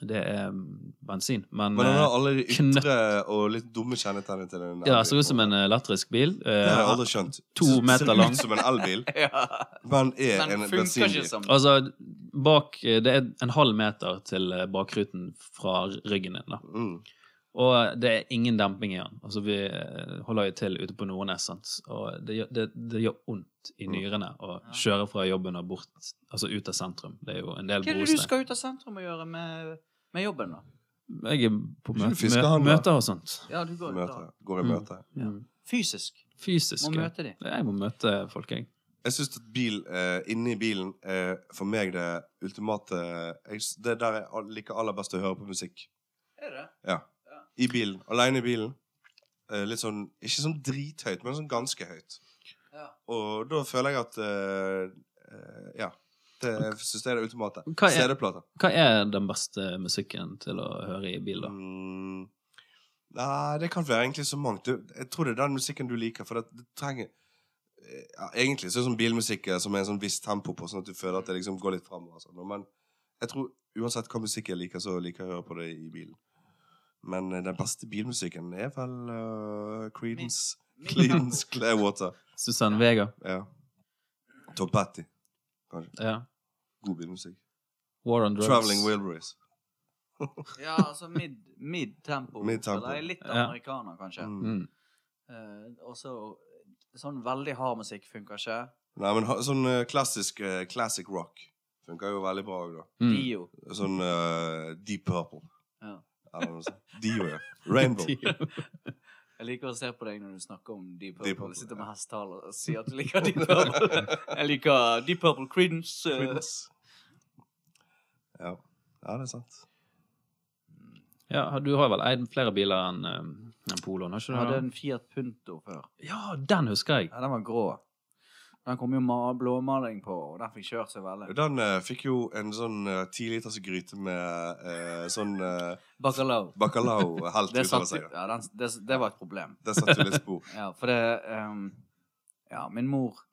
[SPEAKER 3] det er bensin. Men,
[SPEAKER 1] Men den har alle de ytre
[SPEAKER 3] knøtt.
[SPEAKER 1] og litt dumme kjennetegnene til en
[SPEAKER 3] eh, ja, ser ut som
[SPEAKER 1] elbil.
[SPEAKER 3] en elektrisk bil. Eh,
[SPEAKER 1] Det har jeg aldri skjønt.
[SPEAKER 3] To
[SPEAKER 1] Ser-
[SPEAKER 3] meter lang.
[SPEAKER 1] Ser ut som en elbil,
[SPEAKER 2] Ja.
[SPEAKER 1] men er
[SPEAKER 2] Men
[SPEAKER 1] en
[SPEAKER 2] funker ikke sånn.
[SPEAKER 1] bensinbil.
[SPEAKER 2] som
[SPEAKER 3] Altså, bak, eh, det er en halv meter til eh, bakruten fra ryggen din. da.
[SPEAKER 1] Mm.
[SPEAKER 3] Og eh, det er ingen demping i den. Altså, vi eh, holder jo til ute på Nordnes, sant? og det, gjør- det, det gjør vondt i
[SPEAKER 1] Mm.
[SPEAKER 3] nyrene å
[SPEAKER 2] Ja.
[SPEAKER 3] kjøre fra jobben og bort, altså ut av sentrum. Det er jo en del
[SPEAKER 2] Hva er det du
[SPEAKER 3] brosne.
[SPEAKER 2] skal ut av sentrum og gjøre med, med jobben, da?
[SPEAKER 3] Jeg er på
[SPEAKER 1] Skal du
[SPEAKER 3] møte,
[SPEAKER 1] fiske
[SPEAKER 3] mø,
[SPEAKER 1] han, da?
[SPEAKER 3] møter og sånt.
[SPEAKER 2] Ja, du går ut da.
[SPEAKER 1] Møter. Går i
[SPEAKER 3] Mm.
[SPEAKER 1] møte.
[SPEAKER 2] Ja.
[SPEAKER 3] Mm.
[SPEAKER 2] Fysisk.
[SPEAKER 3] Fysisk.
[SPEAKER 2] Må
[SPEAKER 3] ja.
[SPEAKER 2] møte de.
[SPEAKER 3] Jeg må møte folk, jeg.
[SPEAKER 1] Jeg syns at bil eh, inni bilen er for meg det ultimate eh, jeg, s- Det er der jeg al- liker aller best å høre på musikk.
[SPEAKER 2] Er det?
[SPEAKER 1] I bilen. Aleine i bilen. Eh, litt sånn Ikke sånn drithøyt, men sånn ganske høyt.
[SPEAKER 2] Ja.
[SPEAKER 1] Og da føler jeg at eh, eh, Ja. Det, jeg syns det er det ultimate.
[SPEAKER 3] Hva er-
[SPEAKER 1] CD-plate.
[SPEAKER 3] Hva er den beste musikken til å høre i bil, da?
[SPEAKER 1] Mm. Nei, det kan være egentlig så mangt. Du- Jeg tror det er den musikken du liker, for det, det trenger Eh, ja, Egentlig så er det sånn bilmusikk eh, som er en sånn viss tempo på, sånn at du føler at det liksom går litt framover. og Sånn. Men jeg tror uansett hva musikk jeg liker, så liker jeg å høre på det i bilen. Men eh, den beste bilmusikken er vel eh, Creedence Creedence Clearwater.
[SPEAKER 3] Susanne Vega.
[SPEAKER 1] Ja. Tom Patty.
[SPEAKER 3] Ja.
[SPEAKER 1] God bilmusikk.
[SPEAKER 3] War on Drugs.
[SPEAKER 1] Traveling Wilburys.
[SPEAKER 2] Ja, altså mid, mid tempo.
[SPEAKER 1] Mid-tempo.
[SPEAKER 2] Eller litt
[SPEAKER 3] Ja.
[SPEAKER 2] amerikaner, kanskje.
[SPEAKER 1] Mm.
[SPEAKER 3] Mm.
[SPEAKER 2] Eh, og så sånn veldig hard musikk funker ikke.
[SPEAKER 1] Nei, men ha- sånn eh, klassisk eh, classic rock funker jo veldig bra òg, da.
[SPEAKER 3] Mm.
[SPEAKER 2] Dio.
[SPEAKER 1] Sånn eh, Deep Purple.
[SPEAKER 2] Ja.
[SPEAKER 1] Eller noe sånt. Dio, ja. Rainbow.
[SPEAKER 2] Jeg liker å se på deg når du snakker om Deep Purple.
[SPEAKER 1] Deep Purple,
[SPEAKER 2] Sitter med hestetall og sier at du liker Deep Purple. Jeg liker Deep Purple Creedence. eh,
[SPEAKER 1] Prince. Ja. ja, det er sant.
[SPEAKER 3] Ja, har- du har vel eid flere biler enn um, enn Poloen, har
[SPEAKER 2] jeg
[SPEAKER 3] ikke du?
[SPEAKER 2] hadde
[SPEAKER 3] det?
[SPEAKER 2] en Fiat Punto før.
[SPEAKER 3] Ja, den husker jeg!
[SPEAKER 2] Ja, den var grå. Den kom jo ma- blåmaling på, og den fikk kjørt seg veldig.
[SPEAKER 1] Den eh, fikk jo en sånn eh, ti liters gryte med eh, sånn eh,
[SPEAKER 2] Bacalao.
[SPEAKER 1] bacalao helt
[SPEAKER 2] Det,
[SPEAKER 1] utover
[SPEAKER 2] satt,
[SPEAKER 1] seg. da.
[SPEAKER 2] ja, den, det, det var et problem.
[SPEAKER 1] Det satte jo litt spor.
[SPEAKER 2] Ja, for det ehm, Ja, min mor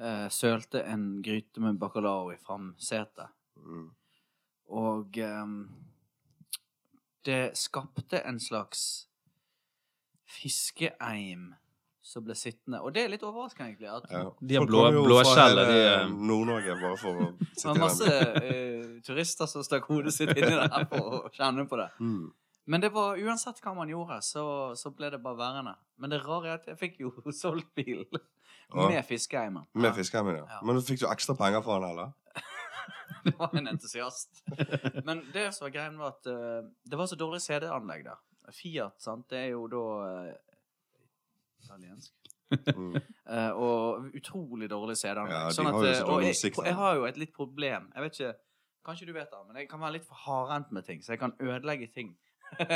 [SPEAKER 2] eh, sølte en gryte med bacalao i framsetet.
[SPEAKER 1] Mm.
[SPEAKER 2] Og ehm, det skapte en slags fiskeeim som ble sittende. Og det er litt overraskende, egentlig. At
[SPEAKER 1] Ja.
[SPEAKER 3] De har
[SPEAKER 1] Folk
[SPEAKER 3] blå-
[SPEAKER 1] kommer jo
[SPEAKER 3] blå
[SPEAKER 1] fra
[SPEAKER 3] skjell,
[SPEAKER 1] hele
[SPEAKER 3] de, eh,
[SPEAKER 1] Nord-Norge, bare for å
[SPEAKER 2] det
[SPEAKER 1] sitte
[SPEAKER 2] var masse eh, turister som stakk hodet sitt inni der for å kjenne på det.
[SPEAKER 1] Mm.
[SPEAKER 2] Men det var, uansett hva man gjorde, så, så ble det bare værende. Men det rare er at jeg fikk jo solgt bilen
[SPEAKER 1] Ja.
[SPEAKER 2] med fiskeeimen.
[SPEAKER 1] Med fiskeheimen, ja.
[SPEAKER 2] Ja.
[SPEAKER 1] Men du fikk du ekstra penger for den, eller?
[SPEAKER 2] Det var en entusiast. Men det som var greien, var at eh, det var så dårlig CD-anlegg der. Fiat, sant, det er jo da eh, Italiensk.
[SPEAKER 1] Mm.
[SPEAKER 2] Eh, og utrolig dårlig CD-anlegg.
[SPEAKER 1] Ja, de
[SPEAKER 2] sånn at,
[SPEAKER 1] har jo
[SPEAKER 2] eh,
[SPEAKER 1] så
[SPEAKER 2] og
[SPEAKER 1] dårlig
[SPEAKER 2] jeg,
[SPEAKER 1] musikk der.
[SPEAKER 2] jeg har jo et litt problem. Jeg vet ikke Kanskje du vet det, men jeg kan være litt for hardhendt med ting, så jeg kan ødelegge ting. det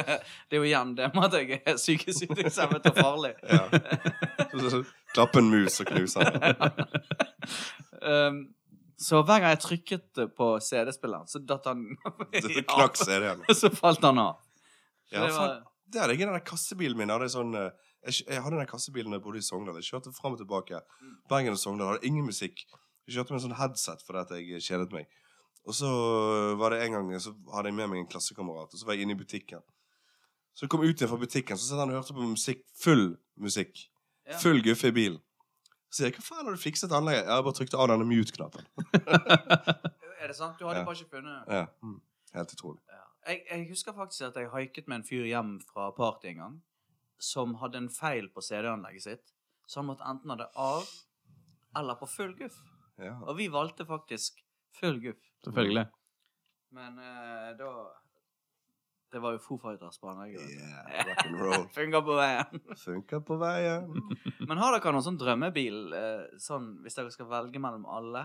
[SPEAKER 2] er jo igjen det med at jeg er psykisk utviklingshemmet og farlig.
[SPEAKER 1] Ja. Så- så- Klappe en mus og knuse den.
[SPEAKER 2] um, så hver gang jeg trykket på CD-spilleren, så datt han
[SPEAKER 1] Så
[SPEAKER 2] i
[SPEAKER 1] knakk CD-en.
[SPEAKER 2] av. Så falt han av. Så
[SPEAKER 1] Ja,
[SPEAKER 2] det var,
[SPEAKER 1] Det hadde jeg i den der kassebilen min. Hadde jeg, sånn, eh, jeg, kj- jeg hadde den kassebilen da jeg bodde i Sogndal. Jeg kjørte fram og tilbake. Bergen og Sogndal hadde ingen musikk. Jeg kjørte med en sånn headset fordi at jeg kjedet meg. Og så var det en gang så hadde jeg med meg en klassekamerat, og så var jeg inne i butikken. Så jeg kom ut igjen fra butikken, så satt han og hørte på musikk. Full musikk.
[SPEAKER 2] Ja.
[SPEAKER 1] Full guffe i bilen. Så sier jeg, hva faen har du fikset anlegget? Jeg har bare trykt av denne mute-knappen.
[SPEAKER 2] er det sant? Du hadde
[SPEAKER 1] Ja.
[SPEAKER 2] bare ikke funnet
[SPEAKER 1] Ja. mm. Helt utrolig.
[SPEAKER 2] ja. jeg, jeg husker faktisk at jeg haiket med en fyr hjem fra party en gang, som hadde en feil på CD-anlegget sitt. Så han måtte enten ha det av eller på full guff.
[SPEAKER 1] Ja.
[SPEAKER 2] Og vi valgte faktisk full guff.
[SPEAKER 3] Selvfølgelig.
[SPEAKER 2] Men eh, da Det var jo Foo Fighters på anlegget. vet du.
[SPEAKER 1] Yeah, rock and roll.
[SPEAKER 2] Funker på veien.
[SPEAKER 1] Funker på veien.
[SPEAKER 2] Men har dere noen sånn drømmebil, eh, sånn, hvis dere skal velge mellom alle?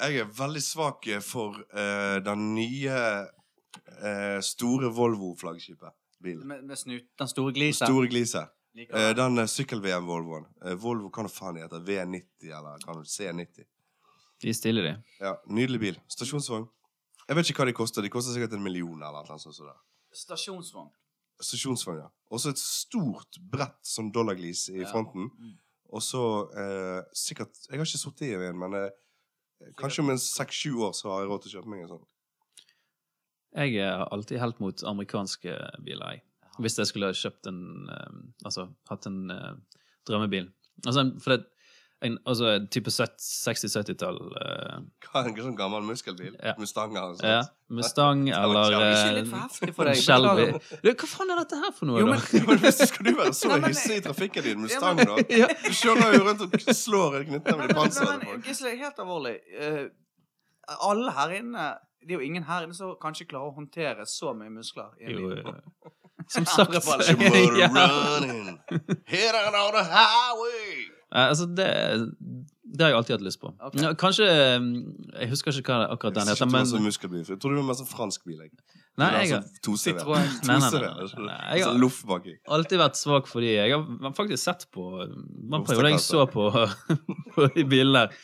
[SPEAKER 1] Jeg er veldig svak for eh, den nye eh, store Volvo-flaggskipet. Bilen.
[SPEAKER 2] Med, med snut, den store glisen?
[SPEAKER 1] Store glise.
[SPEAKER 2] Liker
[SPEAKER 1] Eh,
[SPEAKER 2] du
[SPEAKER 1] den eh, sykkel-VM-Volvoen. Eh, Volvo hva nå faen heter V90 eller hva nå, C90.
[SPEAKER 3] De er stille, de.
[SPEAKER 1] Ja, Nydelig bil. Stasjonsvogn. Jeg vet ikke hva de koster. De koster sikkert en million eller noe sånt. som det.
[SPEAKER 2] Stasjonsvogn.
[SPEAKER 1] Stasjonsvogn, ja. Og så et stort, bredt sånn dollarglis i
[SPEAKER 2] Ja.
[SPEAKER 1] fronten.
[SPEAKER 2] Mm.
[SPEAKER 1] Og så eh, sikkert Jeg har ikke sittet i en, men eh, kanskje om en seks-sju år så har jeg råd til å kjøpe meg en sånn.
[SPEAKER 3] Jeg har alltid helt mot amerikanske biler, jeg.
[SPEAKER 2] Ja.
[SPEAKER 3] Hvis jeg skulle ha kjøpt en eh, Altså hatt en eh, drømmebil. Altså, en- for det en, altså, en type 60-70-tall
[SPEAKER 1] Hva er en sånn gammel muskelbil?
[SPEAKER 3] Ja.
[SPEAKER 1] Mustanger og sånt.
[SPEAKER 3] eh, ja, Mustang eller
[SPEAKER 1] kjempe-
[SPEAKER 2] Ikke
[SPEAKER 3] eh,
[SPEAKER 2] litt for heftig for deg?
[SPEAKER 3] Shelby.
[SPEAKER 2] beklager.
[SPEAKER 3] Du, hva faen er dette her for noe,
[SPEAKER 2] Jo,
[SPEAKER 3] da?
[SPEAKER 2] men
[SPEAKER 1] Ja, men hvis skal du være så
[SPEAKER 2] Nei, men-
[SPEAKER 1] hissig i trafikken din,
[SPEAKER 2] Ja,
[SPEAKER 1] Mustang,
[SPEAKER 2] men-
[SPEAKER 1] da?
[SPEAKER 3] ja,
[SPEAKER 1] Du kjører jo rundt og slår knyttneven
[SPEAKER 2] Nei,
[SPEAKER 1] i
[SPEAKER 2] men-
[SPEAKER 1] panseret
[SPEAKER 2] nei,
[SPEAKER 1] til
[SPEAKER 2] men,
[SPEAKER 1] folk.
[SPEAKER 2] Gisle, helt alvorlig. eh, alle her inne Det er jo ingen her inne som kanskje klarer å håndtere så mye muskler. I en
[SPEAKER 3] jo,
[SPEAKER 2] bil.
[SPEAKER 3] eh, som sagt
[SPEAKER 1] You were
[SPEAKER 3] ja.
[SPEAKER 1] running, hit it on the highway.
[SPEAKER 3] Nei, altså, det, det har jeg alltid hatt lyst på.
[SPEAKER 2] Ok.
[SPEAKER 3] Ja, Kanskje mm, Jeg husker ikke hva det- akkurat den
[SPEAKER 1] Jeg synes
[SPEAKER 3] heter,
[SPEAKER 1] ikke du var
[SPEAKER 3] men
[SPEAKER 1] så muskelbil, for jeg tror du var mer sånn fransk bil. Jeg.
[SPEAKER 3] Nei, jeg har
[SPEAKER 1] har Tosere.
[SPEAKER 2] Citroën.
[SPEAKER 3] Nei, nei, nei,
[SPEAKER 1] Tosere.
[SPEAKER 3] nei, nei, nei, jeg har-
[SPEAKER 1] Sånn loff baki.
[SPEAKER 3] alltid vært svak for de. Jeg har faktisk sett på Man prøver jeg så
[SPEAKER 1] Ofte
[SPEAKER 3] på, på de bilene der.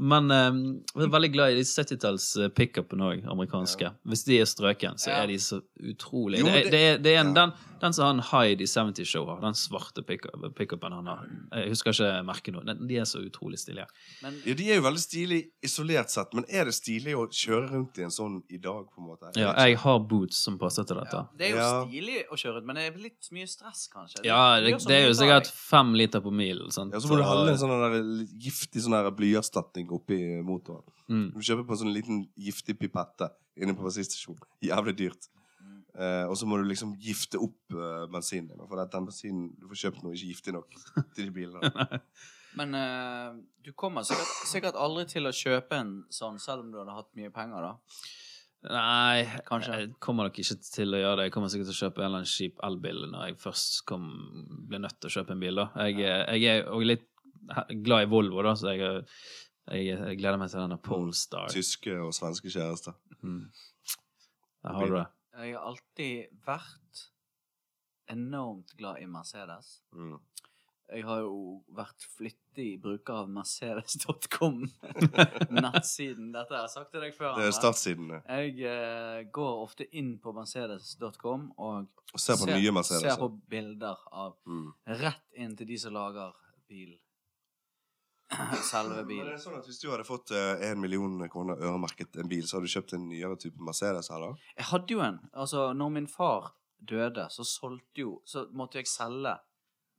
[SPEAKER 3] Men eh, jeg er veldig glad i de 70-talls eh, pickupene òg, amerikanske. Hvis de er strøken, så
[SPEAKER 2] Ja.
[SPEAKER 3] er de så utrolig
[SPEAKER 1] Jo,
[SPEAKER 3] det,
[SPEAKER 1] det-
[SPEAKER 3] er- det er, det er
[SPEAKER 1] ja.
[SPEAKER 3] en, den, den som han Hyde i 70 Show har, den svarte pickup- pickupen han har. Jeg husker ikke merket nå. Den- De er så utrolig stilige.
[SPEAKER 2] Men
[SPEAKER 1] Ja, De er jo veldig stilige isolert sett, men er det stilig å kjøre rundt i en sånn i dag, på en måte?
[SPEAKER 3] Ja, jeg har boots som passer til dette.
[SPEAKER 2] ja, det er jo
[SPEAKER 1] Ja.
[SPEAKER 2] stilig å kjøre ut, men det er litt mye stress, kanskje.
[SPEAKER 3] Ja,
[SPEAKER 2] Du
[SPEAKER 3] det,
[SPEAKER 2] gjør så
[SPEAKER 3] det er
[SPEAKER 2] mye
[SPEAKER 3] jo
[SPEAKER 2] bra, jeg.
[SPEAKER 3] sikkert fem liter på milen. sant?
[SPEAKER 1] sånn Ja, så må du handle en
[SPEAKER 3] Og-
[SPEAKER 1] sånn der giftig sånn der blyerstatning oppi motoren.
[SPEAKER 3] Mm.
[SPEAKER 1] Du kjøper på en sånn liten giftig pipette inne på bensinstasjonen. Jævlig dyrt.
[SPEAKER 2] Mm.
[SPEAKER 1] Eh, og så må du liksom gifte opp eh, bensinen din. For at den bensinen du får kjøpt nå, er ikke giftig nok til de bilene.
[SPEAKER 2] Men eh, du kommer sikkert, sikkert aldri til å kjøpe en sånn, selv om du hadde hatt mye penger, da.
[SPEAKER 3] Nei,
[SPEAKER 2] Kanskje.
[SPEAKER 3] jeg kommer nok ikke til å gjøre det. Jeg kommer sikkert til å kjøpe en eller annen kjip elbil når jeg først kom, ble nødt til å kjøpe en bil. da. Jeg, eh, jeg er òg litt he- glad i Volvo, da, så jeg, eh, jeg, jeg gleder meg til denne
[SPEAKER 1] Mm.
[SPEAKER 3] Polestar.
[SPEAKER 1] Tyske og svenske kjærester.
[SPEAKER 3] Mm. Der har du det.
[SPEAKER 2] Jeg har alltid vært enormt glad i Mercedes.
[SPEAKER 1] Mm.
[SPEAKER 2] Jeg har jo vært flittig bruker av mercedes.com, nettsiden. Dette har jeg sagt til deg før.
[SPEAKER 1] Det er
[SPEAKER 2] Anders.
[SPEAKER 1] startsiden. det.
[SPEAKER 2] Jeg eh, går ofte inn på mercedes.com og
[SPEAKER 1] Og se på nye Mercedes.
[SPEAKER 2] ser på bilder av
[SPEAKER 1] Mm.
[SPEAKER 2] rett inn til de som lager bil. selve
[SPEAKER 1] Men det
[SPEAKER 2] bilen.
[SPEAKER 1] er sånn at Hvis du hadde fått eh, en million kroner øremerket en bil, så hadde du kjøpt en nyere type Mercedes? her da?
[SPEAKER 2] Jeg hadde jo en. Altså, når min far døde, så solgte jo Så måtte jeg selge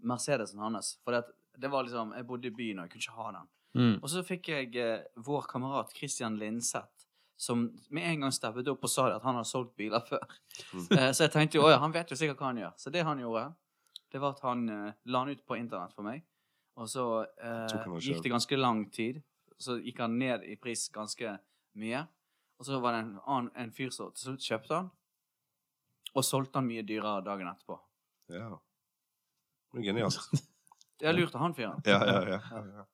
[SPEAKER 2] Mercedesen hans. For det, at det var liksom Jeg bodde i byen, og jeg kunne ikke ha den.
[SPEAKER 3] Mm.
[SPEAKER 2] Og så fikk jeg eh, vår kamerat Christian Lindseth, som med en gang steppet opp og sa det at han har solgt biler før.
[SPEAKER 1] Mm.
[SPEAKER 2] Eh, så jeg tenkte jo, «Å ja, han vet jo sikkert hva han gjør. Så det han gjorde, det var at han eh, la den ut på internett for meg. Og så eh,
[SPEAKER 1] Tok han og
[SPEAKER 2] gikk
[SPEAKER 1] kjøpte.
[SPEAKER 2] det ganske lang tid. Så gikk han ned i pris ganske mye. Og så var det en, annen, en fyr som til slutt kjøpte han. Og solgte han mye dyrere dagen etterpå.
[SPEAKER 1] Ja. Det er genialt.
[SPEAKER 2] Jeg lurte han fyren.
[SPEAKER 1] Ja, ja, ja. ja, ja.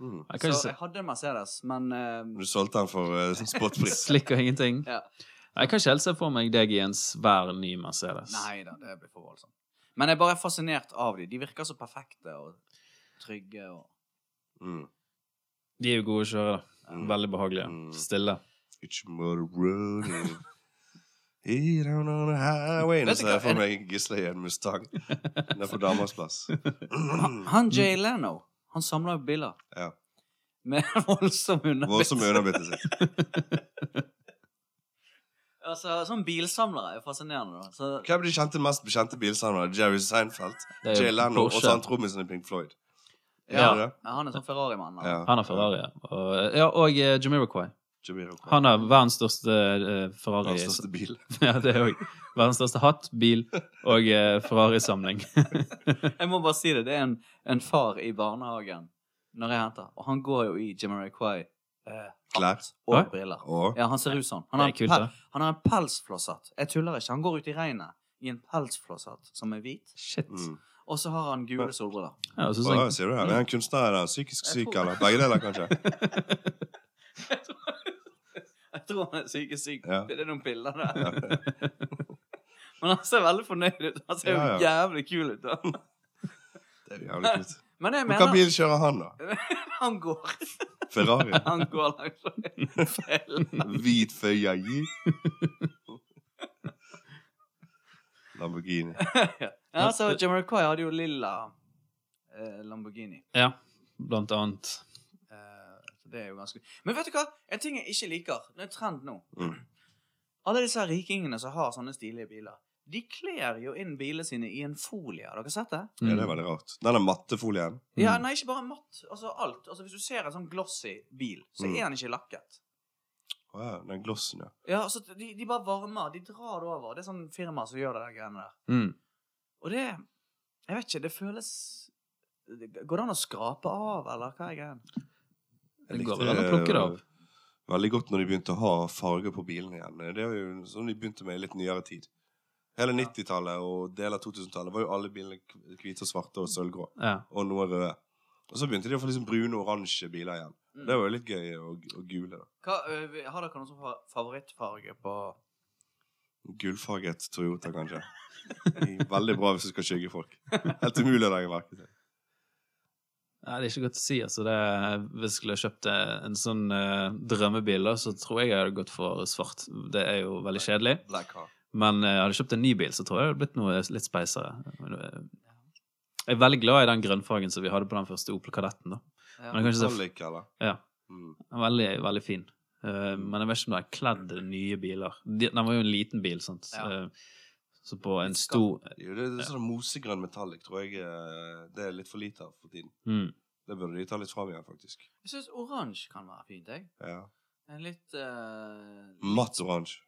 [SPEAKER 1] Mm.
[SPEAKER 2] Så
[SPEAKER 3] Jeg kan ikke se
[SPEAKER 2] jeg hadde en Mercedes, men eh,
[SPEAKER 1] Du solgte den for eh, spotpris.
[SPEAKER 3] Slikk og ingenting.
[SPEAKER 2] Ja.
[SPEAKER 3] Jeg kan ikke helt se for meg deg i en svær, ny Mercedes.
[SPEAKER 2] Nei da, det blir for voldsomt. Men jeg bare er fascinert av dem. De virker så perfekte og trygge. Og...
[SPEAKER 1] Mm.
[SPEAKER 3] De er jo gode å kjøre, da.
[SPEAKER 1] Mm.
[SPEAKER 3] Veldig behagelige.
[SPEAKER 1] Mm.
[SPEAKER 3] Stille.
[SPEAKER 1] It's more running. He down on the highway. Nå
[SPEAKER 2] Vet du
[SPEAKER 1] ser jeg
[SPEAKER 2] hva,
[SPEAKER 1] for
[SPEAKER 2] en-
[SPEAKER 1] meg Gisle i en Mustang. Den er på damas plass.
[SPEAKER 2] Han- Han Jay Leno, han samler jo biler.
[SPEAKER 1] Ja.
[SPEAKER 2] Med voldsom underbitt.
[SPEAKER 1] Voldsomt underbitte sitt.
[SPEAKER 2] Altså, sånn bilsamlere er jo fascinerende, da. Så,
[SPEAKER 1] Hvem er de kjente mest bekjente bilsamlerne? Jerry Seinfeld,
[SPEAKER 3] Det er jo
[SPEAKER 1] Jay Leno og
[SPEAKER 3] Eh, Porsche.
[SPEAKER 1] så han trommisen i Pink Floyd.
[SPEAKER 2] ja.
[SPEAKER 1] Er det det?
[SPEAKER 2] Ja, han er sånn Ferrari-mann. da.
[SPEAKER 1] Ja.
[SPEAKER 3] Han har Ferrari, ja. Og, ja, og eh, Jamiroquai.
[SPEAKER 1] Jamiroquai.
[SPEAKER 3] Han har verdens største eh, Ferrari.
[SPEAKER 1] Hans største bil.
[SPEAKER 3] ja, det er òg. Verdens største hatt, bil og eh, Ferrari-samling.
[SPEAKER 2] Jeg må bare si det. Det er en, en far i barnehagen når jeg henter, og han går jo i Jamiroquai eh,
[SPEAKER 1] Klær.
[SPEAKER 2] hatt og
[SPEAKER 3] Hæ?
[SPEAKER 2] briller.
[SPEAKER 1] Og
[SPEAKER 2] Ja, han ser ut sånn. Han
[SPEAKER 3] Det
[SPEAKER 2] har,
[SPEAKER 3] er kult,
[SPEAKER 2] pel,
[SPEAKER 3] da.
[SPEAKER 2] han har en pelsflosshatt. Jeg tuller ikke. Han går ut i regnet i en pelsflosshatt som er hvit,
[SPEAKER 3] Shit.
[SPEAKER 1] mm.
[SPEAKER 2] og så har han gule solbriller.
[SPEAKER 3] Ja, og så
[SPEAKER 1] Å,
[SPEAKER 3] sånn,
[SPEAKER 1] Sier du det? Er han kunstner eller psykisk
[SPEAKER 2] Jeg
[SPEAKER 1] syk
[SPEAKER 2] tror-
[SPEAKER 1] eller begge deler, kanskje?
[SPEAKER 2] Jeg tror han er syk syk.
[SPEAKER 1] Ja.
[SPEAKER 2] Det er noen bilder
[SPEAKER 1] Ja.
[SPEAKER 2] der. Men han ser veldig fornøyd ut. Han ser jo
[SPEAKER 1] Ja,
[SPEAKER 2] jævlig kul ut. da.
[SPEAKER 1] Det er jo jævlig kult.
[SPEAKER 2] Men jeg
[SPEAKER 1] Men Hvilken
[SPEAKER 2] mener
[SPEAKER 1] bil kjører han, da?
[SPEAKER 2] han går
[SPEAKER 1] Ferrari?
[SPEAKER 2] Han går langs feil.
[SPEAKER 1] Hvit Ferrari? Lamborghini.
[SPEAKER 3] Mm.
[SPEAKER 2] Ja, altså, Jamiroquai hadde jo lilla eh, Lamborghini.
[SPEAKER 3] ja, blant annet.
[SPEAKER 2] Eh, så det er jo ganske Men vet du hva? En ting jeg ikke liker, det er en trend nå.
[SPEAKER 1] Mm.
[SPEAKER 2] Alle disse her rikingene som har sånne stilige biler, de kler jo inn bilene sine i en folie. Har dere sett det?
[SPEAKER 1] Ja, det er veldig rart. Den mattefolien.
[SPEAKER 2] Ja,
[SPEAKER 3] Mm.
[SPEAKER 2] nei, ikke bare matt. Altså alt. Altså, hvis du ser en sånn glossy bil, så
[SPEAKER 1] Mm.
[SPEAKER 2] er den ikke lakket.
[SPEAKER 1] Å ja, den glossen, ja.
[SPEAKER 2] Ja, altså, de, de bare varmer. De drar det over. Det er sånn firma som gjør det der greiene der.
[SPEAKER 3] Mm.
[SPEAKER 2] Og det Jeg vet ikke, det føles det- Går det an å skrape av, eller hva er greien?
[SPEAKER 1] Jeg
[SPEAKER 3] Det går
[SPEAKER 1] likte, eh,
[SPEAKER 3] vel an å plukke det av.
[SPEAKER 1] Veldig godt når de begynte å ha farger på bilene igjen. Det er jo sånn de begynte med i litt nyere tid. Hele 90-tallet og deler av 2000-tallet var jo alle bilene k- hvite og svarte og sølvgrå.
[SPEAKER 3] Ja.
[SPEAKER 1] Og noe røde. Og så begynte de å få liksom brune og oransje biler igjen. Det
[SPEAKER 2] Mm.
[SPEAKER 1] var jo litt gøy. Og, og gule. da.
[SPEAKER 2] Hva, ø, vi- har dere noen som har favorittfarge på
[SPEAKER 1] Gullfarget Toyota, kanskje. Veldig bra hvis du skal skygge folk. Helt umulig å legge merke til.
[SPEAKER 3] Nei, det er ikke godt å si. Altså, det er, hvis jeg skulle kjøpt en sånn eh, drømmebil, da, så tror jeg jeg hadde gått for svart. Det er jo veldig kjedelig.
[SPEAKER 1] Black car.
[SPEAKER 3] Men eh, hadde jeg kjøpt en ny bil, så tror jeg det hadde blitt noe litt speisere. Men, eh, Jeg er veldig glad i den grønnfargen som vi hadde på den første Opel Kadetten. da.
[SPEAKER 2] ja.
[SPEAKER 3] Men jeg kan ikke se,
[SPEAKER 1] Metallic, eller?
[SPEAKER 3] Ja.
[SPEAKER 1] Mm.
[SPEAKER 3] den er veldig, veldig fin. Eh, men jeg vet ikke om den er kledd i nye biler. De, den var jo en liten bil, sant.
[SPEAKER 2] Ja.
[SPEAKER 3] Eh, så på en
[SPEAKER 2] Litt
[SPEAKER 3] stor
[SPEAKER 1] Jo, det, det er sånn mosegrønn metallic tror jeg eh, det er litt for lite av for tiden.
[SPEAKER 3] mm,
[SPEAKER 1] Det burde de ta litt fram igjen, faktisk.
[SPEAKER 2] Jeg syns oransje kan være fint, jeg.
[SPEAKER 1] Ja.
[SPEAKER 2] En litt ø,
[SPEAKER 3] Mm.
[SPEAKER 1] Matt oransje.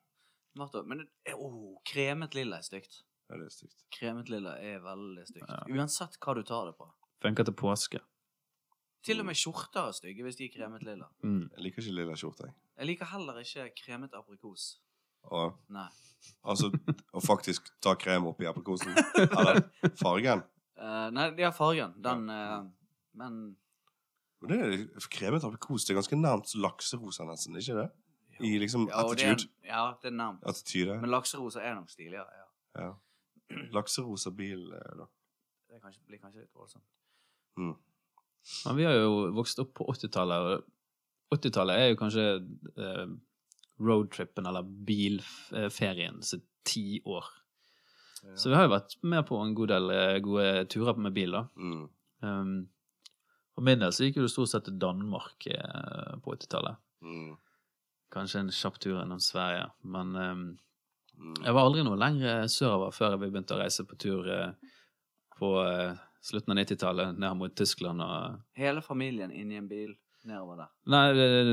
[SPEAKER 2] matt og- Men det- eh, åh, kremet lilla er stygt.
[SPEAKER 1] Ja, det er stygt.
[SPEAKER 2] Kremet lilla er veldig stygt.
[SPEAKER 3] Ja.
[SPEAKER 2] Uansett hva du tar det på.
[SPEAKER 3] Funker til påske.
[SPEAKER 1] Mm.
[SPEAKER 2] Til og med skjorter er stygge hvis de er kremet lilla.
[SPEAKER 3] Mm.
[SPEAKER 1] Jeg liker ikke lilla skjorte, jeg.
[SPEAKER 2] Jeg liker heller ikke kremet aprikos.
[SPEAKER 1] Og,
[SPEAKER 2] Nei.
[SPEAKER 1] altså, og faktisk ta krem oppi aprikosen. Eller fargen.
[SPEAKER 2] Eh, nei, de har fargen. Den eh, Men
[SPEAKER 1] Men det er kremet aprikos. Det er ganske nærmt lakserosa, nesten. Ikke det? I liksom
[SPEAKER 2] Ja, og det er,
[SPEAKER 1] attitude.
[SPEAKER 2] ja, det er nærmt.
[SPEAKER 1] Attityde.
[SPEAKER 2] Men lakserosa er nok stiligere. ja.
[SPEAKER 1] Ja. Lakserosa bil, eh, da.
[SPEAKER 2] Det er kanskje, blir kanskje litt voldsomt.
[SPEAKER 1] Mm.
[SPEAKER 3] Men vi har jo vokst opp på 80-tallet, og 80-tallet er jo kanskje eh, roadtrippen eller bilferien sitt ti år.
[SPEAKER 1] Ja.
[SPEAKER 3] Så vi har jo vært med på en god del eh, gode turer med bil, da.
[SPEAKER 1] Mm.
[SPEAKER 3] Um, For min del så gikk jo det stort sett til Danmark eh, på 80-tallet.
[SPEAKER 1] Mm.
[SPEAKER 3] Kanskje en kjapp tur innom Sverige. Men eh,
[SPEAKER 1] Mm.
[SPEAKER 3] jeg var aldri noe lenger sørover før vi begynte å reise på tur eh, på eh, slutten av 90-tallet ned mot Tyskland og
[SPEAKER 2] Hele familien inni en bil nedover der.
[SPEAKER 3] Nei, eh,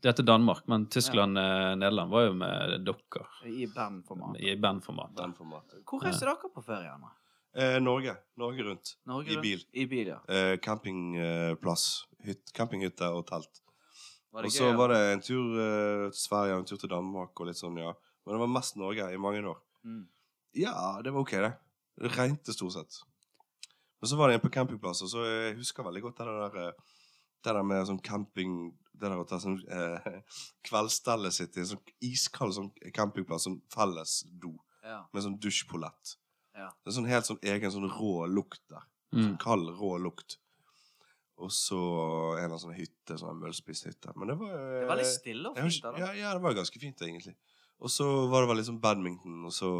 [SPEAKER 3] dette er Danmark, men Tyskland eh, Nederland var jo med dokker
[SPEAKER 2] I bandformat.
[SPEAKER 3] i bandformat.
[SPEAKER 1] Den formatet.
[SPEAKER 2] Hvor reiste dere på ferie, Anna?
[SPEAKER 1] Eh, Norge. Norge rundt.
[SPEAKER 2] Norge?
[SPEAKER 1] I
[SPEAKER 2] da?
[SPEAKER 1] bil.
[SPEAKER 2] I bil, ja.
[SPEAKER 1] Eh, campingplass. Hytt, campinghytte og telt.
[SPEAKER 2] Var
[SPEAKER 1] Og
[SPEAKER 2] det
[SPEAKER 1] så
[SPEAKER 2] gøy?
[SPEAKER 1] var
[SPEAKER 2] da?
[SPEAKER 1] det en tur eh, til Sverige og en tur til Danmark og litt sånn, ja. Men det var mest Norge i mange år.
[SPEAKER 2] Mm.
[SPEAKER 1] Ja, det var ok, det. Det regnet stort sett. Men så var det en på campingplass, og så eh, jeg husker veldig godt det der, eh, det der med sånn camping Det der å ta sånn eh, kveldsstellet sitt i en sånn iskald sånn campingplass, sånn felles do
[SPEAKER 2] Ja.
[SPEAKER 1] med sånn dusjpolett.
[SPEAKER 2] Ja.
[SPEAKER 1] Det er sånn helt sånn egen sånn rå lukt der.
[SPEAKER 3] Mm.
[SPEAKER 1] Kald, rå lukt. Og så en eller annen sånn hytte, sånn møllspisshytte. Men det var eh,
[SPEAKER 2] Det var litt stille og
[SPEAKER 1] jeg har
[SPEAKER 2] fint.
[SPEAKER 1] ikke-
[SPEAKER 2] da, da.
[SPEAKER 1] Ja, ja, det var ganske fint, egentlig. Og så var det vel liksom badminton, og så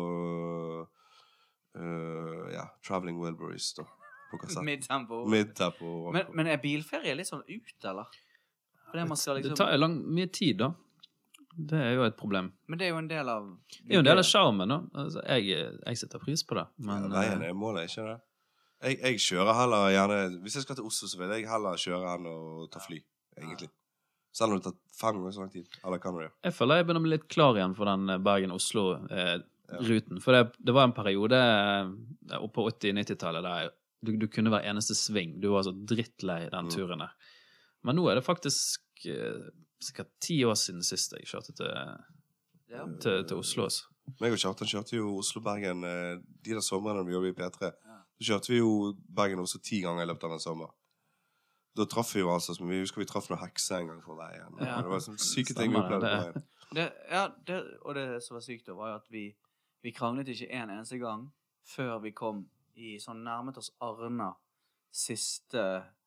[SPEAKER 1] øh, Ja, Traveling Wilburys, da. På kassett.
[SPEAKER 2] Midtempo.
[SPEAKER 1] Midtap og
[SPEAKER 2] Men, men er bilferie litt sånn ut, eller? Fordi man skal
[SPEAKER 3] Det
[SPEAKER 2] liksom...
[SPEAKER 3] tar jo lang, mye tid, da. Det er jo et problem.
[SPEAKER 2] Men det er jo en del av
[SPEAKER 3] Det er jo en del av sjarmen, da. Altså, jeg, jeg setter pris på det, men
[SPEAKER 1] ja, Veien
[SPEAKER 3] eh,
[SPEAKER 1] er målet, ikke det? Jeg, jeg kjører heller gjerne Hvis jeg skal til Oslo, så vil jeg heller kjøre enn å ta fly, egentlig. Selv om det tar fem ganger så lang tid. Eller hva nå det gjør.
[SPEAKER 3] jeg føler jeg begynner å bli litt klar igjen for den eh, Bergen-Oslo-ruten. For det, det var en periode eh, oppe på 80-90-tallet der du, du kunne hver eneste sving. Du var så drittlei den
[SPEAKER 1] Mm.
[SPEAKER 3] turen der. Men nå er det faktisk eh, sikkert ti år siden sist jeg kjørte til,
[SPEAKER 2] Ja.
[SPEAKER 3] til, til Oslo. Altså.
[SPEAKER 1] Meg og Kjartan kjørte jo Oslo-Bergen eh, de der somrene vi jobbet i P3.
[SPEAKER 2] Ja.
[SPEAKER 1] Så kjørte vi jo Bergen også ti ganger i løpet av en sommer. Da traff vi jo altså som Vi husker vi traff noen hekser en gang på veien. og
[SPEAKER 2] Ja.
[SPEAKER 1] Det var sånne syke ting vi
[SPEAKER 3] Stemmer det,
[SPEAKER 1] opplevde på veien.
[SPEAKER 2] Det, ja, det, og det som var sykt, da, var jo at vi, vi kranglet ikke en eneste gang før vi kom i sånn nærmet oss Arna siste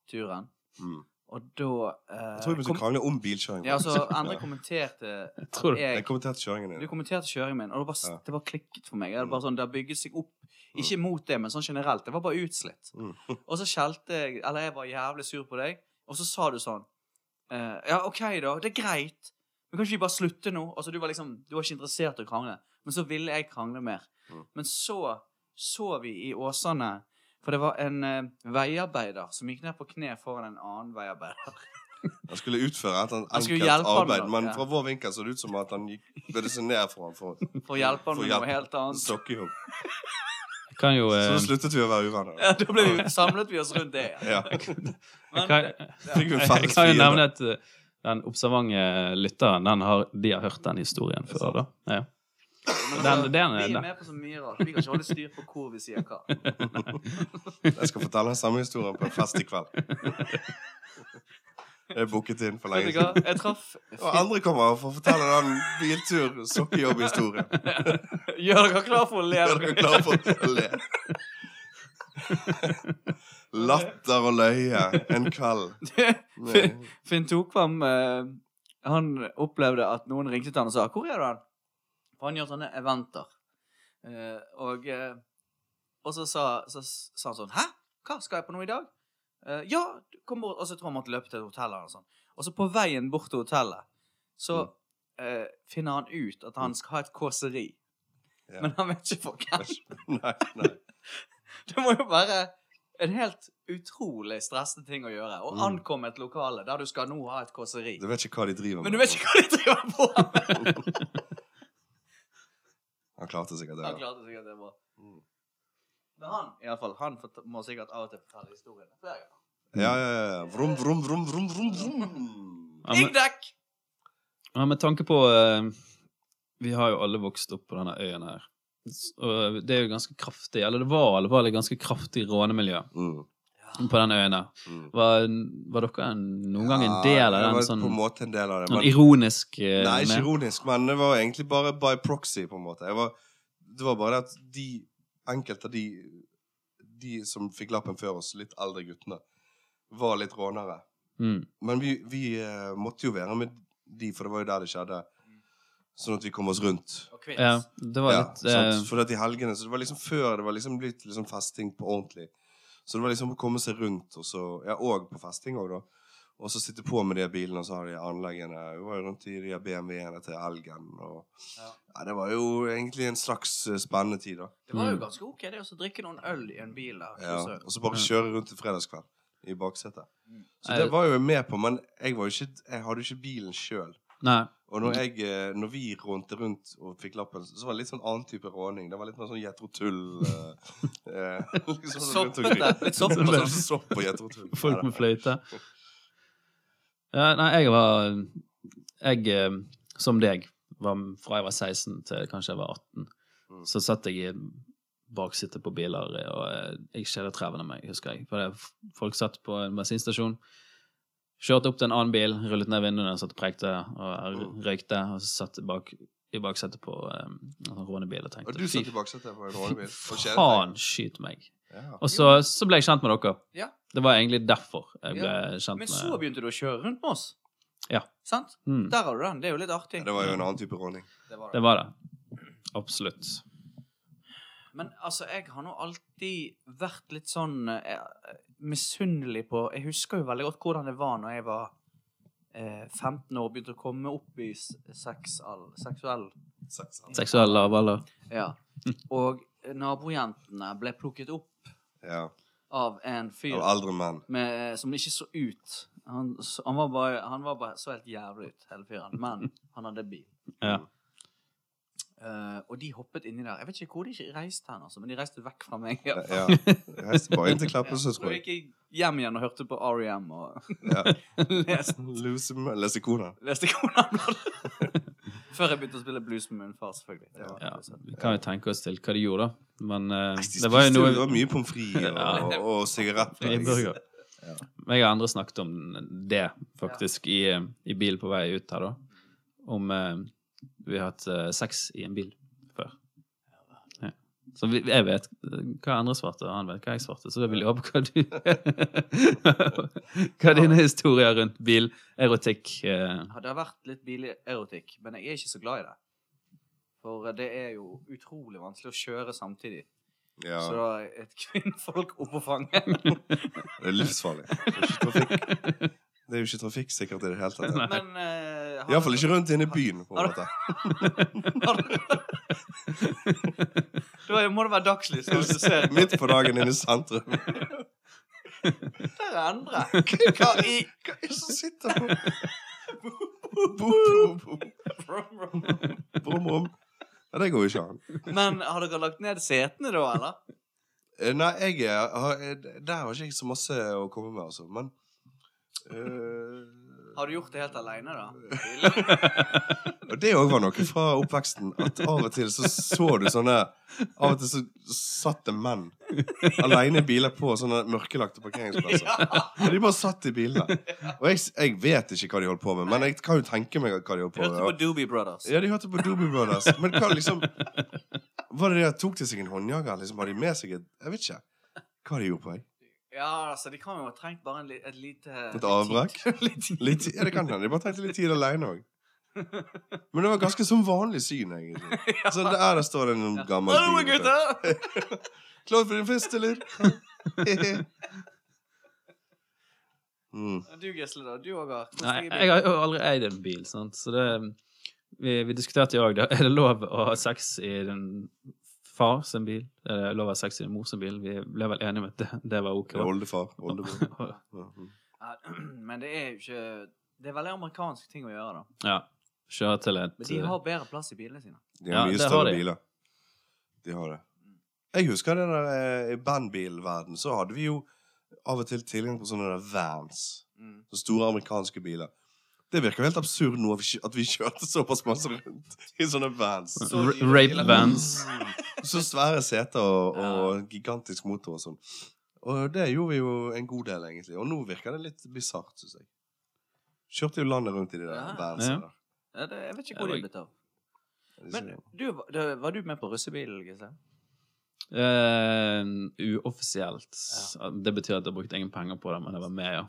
[SPEAKER 2] turen.
[SPEAKER 1] Mm.
[SPEAKER 2] Og da eh,
[SPEAKER 1] Jeg tror vi
[SPEAKER 2] kom-
[SPEAKER 1] begynte å krangle om bilkjøring.
[SPEAKER 2] Ja, så
[SPEAKER 1] faktisk.
[SPEAKER 2] Endre
[SPEAKER 1] Ja.
[SPEAKER 2] kommenterte
[SPEAKER 3] Jeg tror det.
[SPEAKER 1] Jeg
[SPEAKER 2] jeg,
[SPEAKER 1] kommenterte kjøringen
[SPEAKER 2] Du
[SPEAKER 1] din.
[SPEAKER 2] kommenterte kjøringen min, og det bare, s-
[SPEAKER 1] Ja. Mm.
[SPEAKER 2] det bare klikket for meg. Det, bare sånn, det har bygget seg opp. Ikke mot det, men sånn generelt. Det var bare utslitt.
[SPEAKER 1] Mm.
[SPEAKER 2] Og så skjelte jeg Eller jeg var jævlig sur på deg, og så sa du sånn eh, Ja, OK, da. Det er greit. Men kan ikke vi bare slutte nå? Altså, du var liksom Du var ikke interessert i å krangle. Men så ville jeg krangle mer.
[SPEAKER 1] Mm.
[SPEAKER 2] Men så så vi i Åsane For det var en eh, veiarbeider som gikk ned på kne foran en annen veiarbeider.
[SPEAKER 1] Han skulle utføre et eller
[SPEAKER 2] Han
[SPEAKER 1] annet
[SPEAKER 2] skulle
[SPEAKER 1] enkelt
[SPEAKER 2] hjelpe han,
[SPEAKER 1] arbeid,
[SPEAKER 2] da.
[SPEAKER 1] men
[SPEAKER 2] Ja.
[SPEAKER 1] fra vår vinkel så det ut som at han gikk bødde seg ned for ham for å
[SPEAKER 2] For å hjelpe han
[SPEAKER 1] For
[SPEAKER 2] med
[SPEAKER 1] hjelp.
[SPEAKER 2] noe helt annet.
[SPEAKER 1] stokke i henne.
[SPEAKER 3] Jeg kan jo
[SPEAKER 1] Så
[SPEAKER 3] eh,
[SPEAKER 1] da sluttet vi å være uvenner.
[SPEAKER 2] Ja, da ble vi, samlet vi oss rundt det.
[SPEAKER 1] Ja.
[SPEAKER 3] jeg
[SPEAKER 2] Men,
[SPEAKER 3] kan,
[SPEAKER 1] Fikk vi en
[SPEAKER 3] jeg
[SPEAKER 1] felles
[SPEAKER 3] kan jo
[SPEAKER 1] fiende.
[SPEAKER 3] nevne at eh, den observante lytteren, den har, de har hørt den historien før, da. Ja.
[SPEAKER 2] men
[SPEAKER 3] Den-
[SPEAKER 2] altså,
[SPEAKER 3] den-
[SPEAKER 2] vi
[SPEAKER 3] den-
[SPEAKER 2] er med på så mye rart. Vi kan ikke holde styr på hvor vi sier hva.
[SPEAKER 1] Jeg skal fortelle den samme historien på en fest i kveld. Jeg er booket inn for
[SPEAKER 2] Vet
[SPEAKER 1] lenge
[SPEAKER 2] du hva?
[SPEAKER 1] siden.
[SPEAKER 2] Jeg traff
[SPEAKER 1] Og andre kommer for å fortelle den biltur-sokkejobb-historien.
[SPEAKER 2] Gjør dere klar for å le?
[SPEAKER 1] Er dere klare for å le? Latter og løye en kveld. Nei.
[SPEAKER 2] Finn- Finn Tokvam eh, Han opplevde at noen ringte til han og sa 'Hvor er du hen?' For han gjør sånne eventer. Eh, og, eh, og så sa, så s- sa han sånn 'Hæ? Hva skal jeg på nå i dag?' Eh, 'Ja, du kom bort.' Og så tror jeg han måtte løpe til hotellet. Og, sånn. og så på veien bort til hotellet så
[SPEAKER 1] Mm.
[SPEAKER 2] eh, finner han ut at han skal ha et kåseri.
[SPEAKER 1] Ja.
[SPEAKER 2] Men han vet ikke for hvem.
[SPEAKER 1] Nei, nei.
[SPEAKER 2] Det må jo være en helt utrolig stressende ting å gjøre. Å
[SPEAKER 1] Mm.
[SPEAKER 2] ankomme et lokale der du skal nå ha et kåseri.
[SPEAKER 1] Du vet ikke hva de driver med.
[SPEAKER 2] Men du vet ikke hva de driver på med!
[SPEAKER 1] Han klarte sikkert det.
[SPEAKER 2] Han
[SPEAKER 1] Mm.
[SPEAKER 2] klarte sikkert det bra.
[SPEAKER 1] Ja,
[SPEAKER 2] Men han i alle fall, han fort- må sikkert av og til fortelle historiene flere ganger.
[SPEAKER 1] ja, ja. ja. Vrom, vrom, vrom, vrom, vrom, vrom.
[SPEAKER 3] Ja, men,
[SPEAKER 2] Piggdekk!
[SPEAKER 3] ja, med tanke på eh, Vi har jo alle vokst opp på denne øyen her. S- Og eh, det er jo ganske kraftig, eller det var i alle fall et ganske kraftig rånemiljø
[SPEAKER 1] Mm,
[SPEAKER 3] på den øyen her.
[SPEAKER 1] mm.
[SPEAKER 3] Var, var dere en, noen gang en del av
[SPEAKER 1] Ja, jeg
[SPEAKER 3] den
[SPEAKER 1] var
[SPEAKER 3] sånn,
[SPEAKER 1] På en måte en del av det.
[SPEAKER 3] sånn
[SPEAKER 1] men-
[SPEAKER 3] ironisk eh,
[SPEAKER 1] Nei, ikke
[SPEAKER 3] med-
[SPEAKER 1] ironisk, men det var egentlig bare by proxy, på en måte. Jeg var, det var bare det at de enkelte av de, de som fikk lappen før oss, litt eldre guttene, var litt rånere.
[SPEAKER 3] Mm.
[SPEAKER 1] Men vi, vi eh, måtte jo være med de, for det var jo der det skjedde. Sånn at vi kom oss rundt.
[SPEAKER 2] Og kvinns.
[SPEAKER 3] Ja, det var
[SPEAKER 1] Ja,
[SPEAKER 3] litt eh,
[SPEAKER 1] sant? For at i helgene, så det var liksom før det var liksom blitt liksom festing på ordentlig. Så det var liksom å komme seg rundt, og så Ja, og på festing òg, da. Og så sitte på med de bilene, og så har de anleggene. Vi var jo rundt i de her BMW-ene til Elgen og
[SPEAKER 2] Ja.
[SPEAKER 1] Ja, det var jo egentlig en slags eh, spennende tid, da.
[SPEAKER 2] Det var jo
[SPEAKER 3] Mm.
[SPEAKER 2] ganske ok det å drikke noen øl i en bil der.
[SPEAKER 1] Ja,
[SPEAKER 2] så-
[SPEAKER 1] og så bare
[SPEAKER 3] Ja.
[SPEAKER 1] kjøre rundt til fredagskveld i baksetet.
[SPEAKER 2] Mm.
[SPEAKER 1] Så
[SPEAKER 3] Nei,
[SPEAKER 1] det var jeg jo med på, men jeg, var jo ikke, jeg hadde jo ikke bilen sjøl.
[SPEAKER 3] Nei.
[SPEAKER 1] Og
[SPEAKER 3] Mm.
[SPEAKER 1] når, jeg, eh, når vi rånte rundt og fikk lappen, så var det litt sånn annen type råning. Det var litt mer sånn gjetrotull. eh, eh, liksom sånn rundt omkring.
[SPEAKER 2] Soppete. Litt sopp og
[SPEAKER 1] Det er
[SPEAKER 2] sånn.
[SPEAKER 1] Sopp og gjetrotull.
[SPEAKER 3] altså. Folk
[SPEAKER 1] Neida.
[SPEAKER 3] med fløyte. Ja, nei, jeg var Jeg, eh, som deg, var fra jeg var 16 til kanskje jeg var 18.
[SPEAKER 1] Mm.
[SPEAKER 3] Så satt jeg i baksetet på biler, og eh, jeg kjedet treven av meg, husker jeg. For det, folk satt på en bensinstasjon, kjørte opp til en annen bil, rullet ned vinduene, satt og prekte og r-
[SPEAKER 1] Mm.
[SPEAKER 3] røykte, og så satt jeg bak, i baksetet på eh, en rånebil og tenkte
[SPEAKER 1] Og du satt
[SPEAKER 3] "Fy
[SPEAKER 1] i baksetet på en rånebil. og kjedet deg.
[SPEAKER 3] Faen, skyt meg.
[SPEAKER 1] Ja.
[SPEAKER 3] Og så, så ble jeg kjent med dere.
[SPEAKER 2] Ja.
[SPEAKER 3] Det var egentlig derfor jeg ble
[SPEAKER 2] Ja,
[SPEAKER 3] kjent
[SPEAKER 2] Men
[SPEAKER 3] med
[SPEAKER 2] så begynte du å kjøre rundt med oss.
[SPEAKER 3] eh. Ja.
[SPEAKER 2] Sant?
[SPEAKER 3] Mm,
[SPEAKER 2] Der har du den. Det er jo litt artig.
[SPEAKER 1] Ja, Det var jo en annen type råning.
[SPEAKER 2] Det var det.
[SPEAKER 3] det var det. Absolutt.
[SPEAKER 2] Men altså, jeg har nå alltid vært litt sånn eh, misunnelig på Jeg husker jo veldig godt hvordan det var når jeg var eh, 15 år og begynte å komme opp i s- sexal, seksuell
[SPEAKER 1] altså.
[SPEAKER 3] Seksuell lavalder.
[SPEAKER 2] Ja. Og nabojentene ble plukket opp
[SPEAKER 1] Ja.
[SPEAKER 2] av en fyr
[SPEAKER 1] Av eldre menn.
[SPEAKER 2] med, eh, som ikke så ut. Han, s- han, var bare, han var bare så helt jævlig ut, hele fyren. Men han hadde bil.
[SPEAKER 3] Ja.
[SPEAKER 2] Eh, og de hoppet inni der. Jeg vet ikke hvor de ikke reiste hen, altså, men de reiste vekk fra meg. Ja.
[SPEAKER 1] Ja. Jeg reiste bare inn til Kleppelsø, tror jeg.
[SPEAKER 2] gikk jeg hjem igjen og hørte på R.E.M. og
[SPEAKER 1] Ja.
[SPEAKER 2] leste,
[SPEAKER 1] Lose med- Lese kona.
[SPEAKER 2] leste Konan-bladet. Før jeg begynte å spille blues med min far, selvfølgelig. Det var
[SPEAKER 3] Ja.
[SPEAKER 2] litt sånn. søtt.
[SPEAKER 3] Vi kan jo tenke oss til hva de gjorde, da. Men eh,
[SPEAKER 1] Nei, de
[SPEAKER 3] det var jo
[SPEAKER 1] spiste jo- det var
[SPEAKER 3] noe
[SPEAKER 1] mye pommes frites og,
[SPEAKER 2] Ja.
[SPEAKER 1] og sigarett.
[SPEAKER 3] i burger.
[SPEAKER 1] Ja.
[SPEAKER 3] Jeg og andre snakket om det, faktisk, i, i bil på vei ut her, da. Om eh, vi har hatt eh, sex i en bil før. Ja. Så vi, jeg vet hva andre svarte, og han vet hva jeg svarte, så da vil jeg håpe hva du Hva dine historier rundt bil, erotikk eh,
[SPEAKER 2] Ja, Det har vært litt bilerotikk, men jeg er ikke så glad i det. For eh, det er jo utrolig vanskelig å kjøre samtidig. Så
[SPEAKER 1] Ja,
[SPEAKER 2] da er et kvinnfolk oppå fanget.
[SPEAKER 1] det er livsfarlig. Det er ikke trafikk. Det er jo ikke trafikksikkert i det hele tatt.
[SPEAKER 3] Nei.
[SPEAKER 2] Men eh, har
[SPEAKER 1] Iallfall
[SPEAKER 2] dere-
[SPEAKER 1] ikke rundt inne i byen. på en måte.
[SPEAKER 2] har dere- Da må det være dagslys. hvis du ser.
[SPEAKER 1] Midt på dagen inne i sentrum.
[SPEAKER 2] Der er Endre. Hva i
[SPEAKER 1] Hva er det som sitter på Bom, bom, bom, bom. Ja, det går jo ikke an.
[SPEAKER 2] Men har dere lagt ned setene da, eller?
[SPEAKER 1] Eh, Nei, jeg er, har, eh, der har ikke jeg så masse å komme med, altså. Men eh,
[SPEAKER 2] Har du gjort det helt aleine, da?
[SPEAKER 1] Og det òg var noe fra oppveksten. At av og til så så du sånne Av og til så satt det menn aleine i biler på sånne mørkelagte parkeringsplasser. Og de bare satt i bilene. Og jeg, jeg vet ikke hva de holdt på med, men jeg kan jo tenke meg hva de holdt på
[SPEAKER 2] Hørte på
[SPEAKER 1] med.
[SPEAKER 2] Doobie Brothers.
[SPEAKER 1] Ja, de hørte på Doobie Brothers. Men hva liksom Var det det at tok de seg en håndjager? Liksom Hadde de med seg et Jeg vet ikke. Hva har de gjort på meg?
[SPEAKER 2] Ja, altså, de kan jo ha trengt bare en, li- et lite
[SPEAKER 1] Et avbrekk?
[SPEAKER 2] Litt
[SPEAKER 1] Litt, ja, det kan hende. De bare trengte litt tid aleine òg. Men det var ganske sånn vanlig syn, egentlig. Så der, der står det en gammel
[SPEAKER 2] Hallo,
[SPEAKER 1] bil.
[SPEAKER 2] gutter!
[SPEAKER 1] Klar for en fest, eller? mm.
[SPEAKER 2] Du, Gisle, da. Du òg har
[SPEAKER 3] Nei, jeg har jo aldri eid en bil, sant? så det Vi, vi diskuterte jo òg, da. Er det lov å ha sex i din far sin bil? Er det lov å ha sex i din mor sin bil? Vi ble vel enige om at det, det var OK.
[SPEAKER 1] Det er Oldefar. Oldebror. Mhm.
[SPEAKER 2] Ja, Men det er jo ikke Det er veldig amerikansk ting å gjøre, da.
[SPEAKER 3] Ja. Kjøre til et
[SPEAKER 2] Men de har bedre plass i bilene sine.
[SPEAKER 1] De
[SPEAKER 3] Ja,
[SPEAKER 1] har mye
[SPEAKER 3] det har
[SPEAKER 1] større
[SPEAKER 3] de.
[SPEAKER 1] biler. De har det. Mm. Jeg husker det der eh, i bandbilverden så hadde vi jo av og til tilgang på sånne der vans.
[SPEAKER 2] Mm.
[SPEAKER 1] Så store amerikanske biler. Det virker jo helt absurd nå at vi kjø- at vi kjørte såpass masse rundt i sånne vans.
[SPEAKER 3] R- eh, Rape vans.
[SPEAKER 1] Så svære seter og,
[SPEAKER 2] Ja.
[SPEAKER 1] og gigantisk motor og sånn. Og det gjorde vi jo en god del, egentlig. Og nå virker det litt bisart, syns jeg. Kjørte jo landet rundt i de der
[SPEAKER 2] Ja.
[SPEAKER 1] verdensene der.
[SPEAKER 2] Ja, det, jeg vet ikke hvor de er blitt av.
[SPEAKER 1] Det er
[SPEAKER 2] Men
[SPEAKER 1] sånn-
[SPEAKER 2] du, var- det, var du med på russebilen, Gisle?
[SPEAKER 3] Eh, uoffisielt. Det betyr at jeg har brukt ingen penger på det, men jeg var med, ja.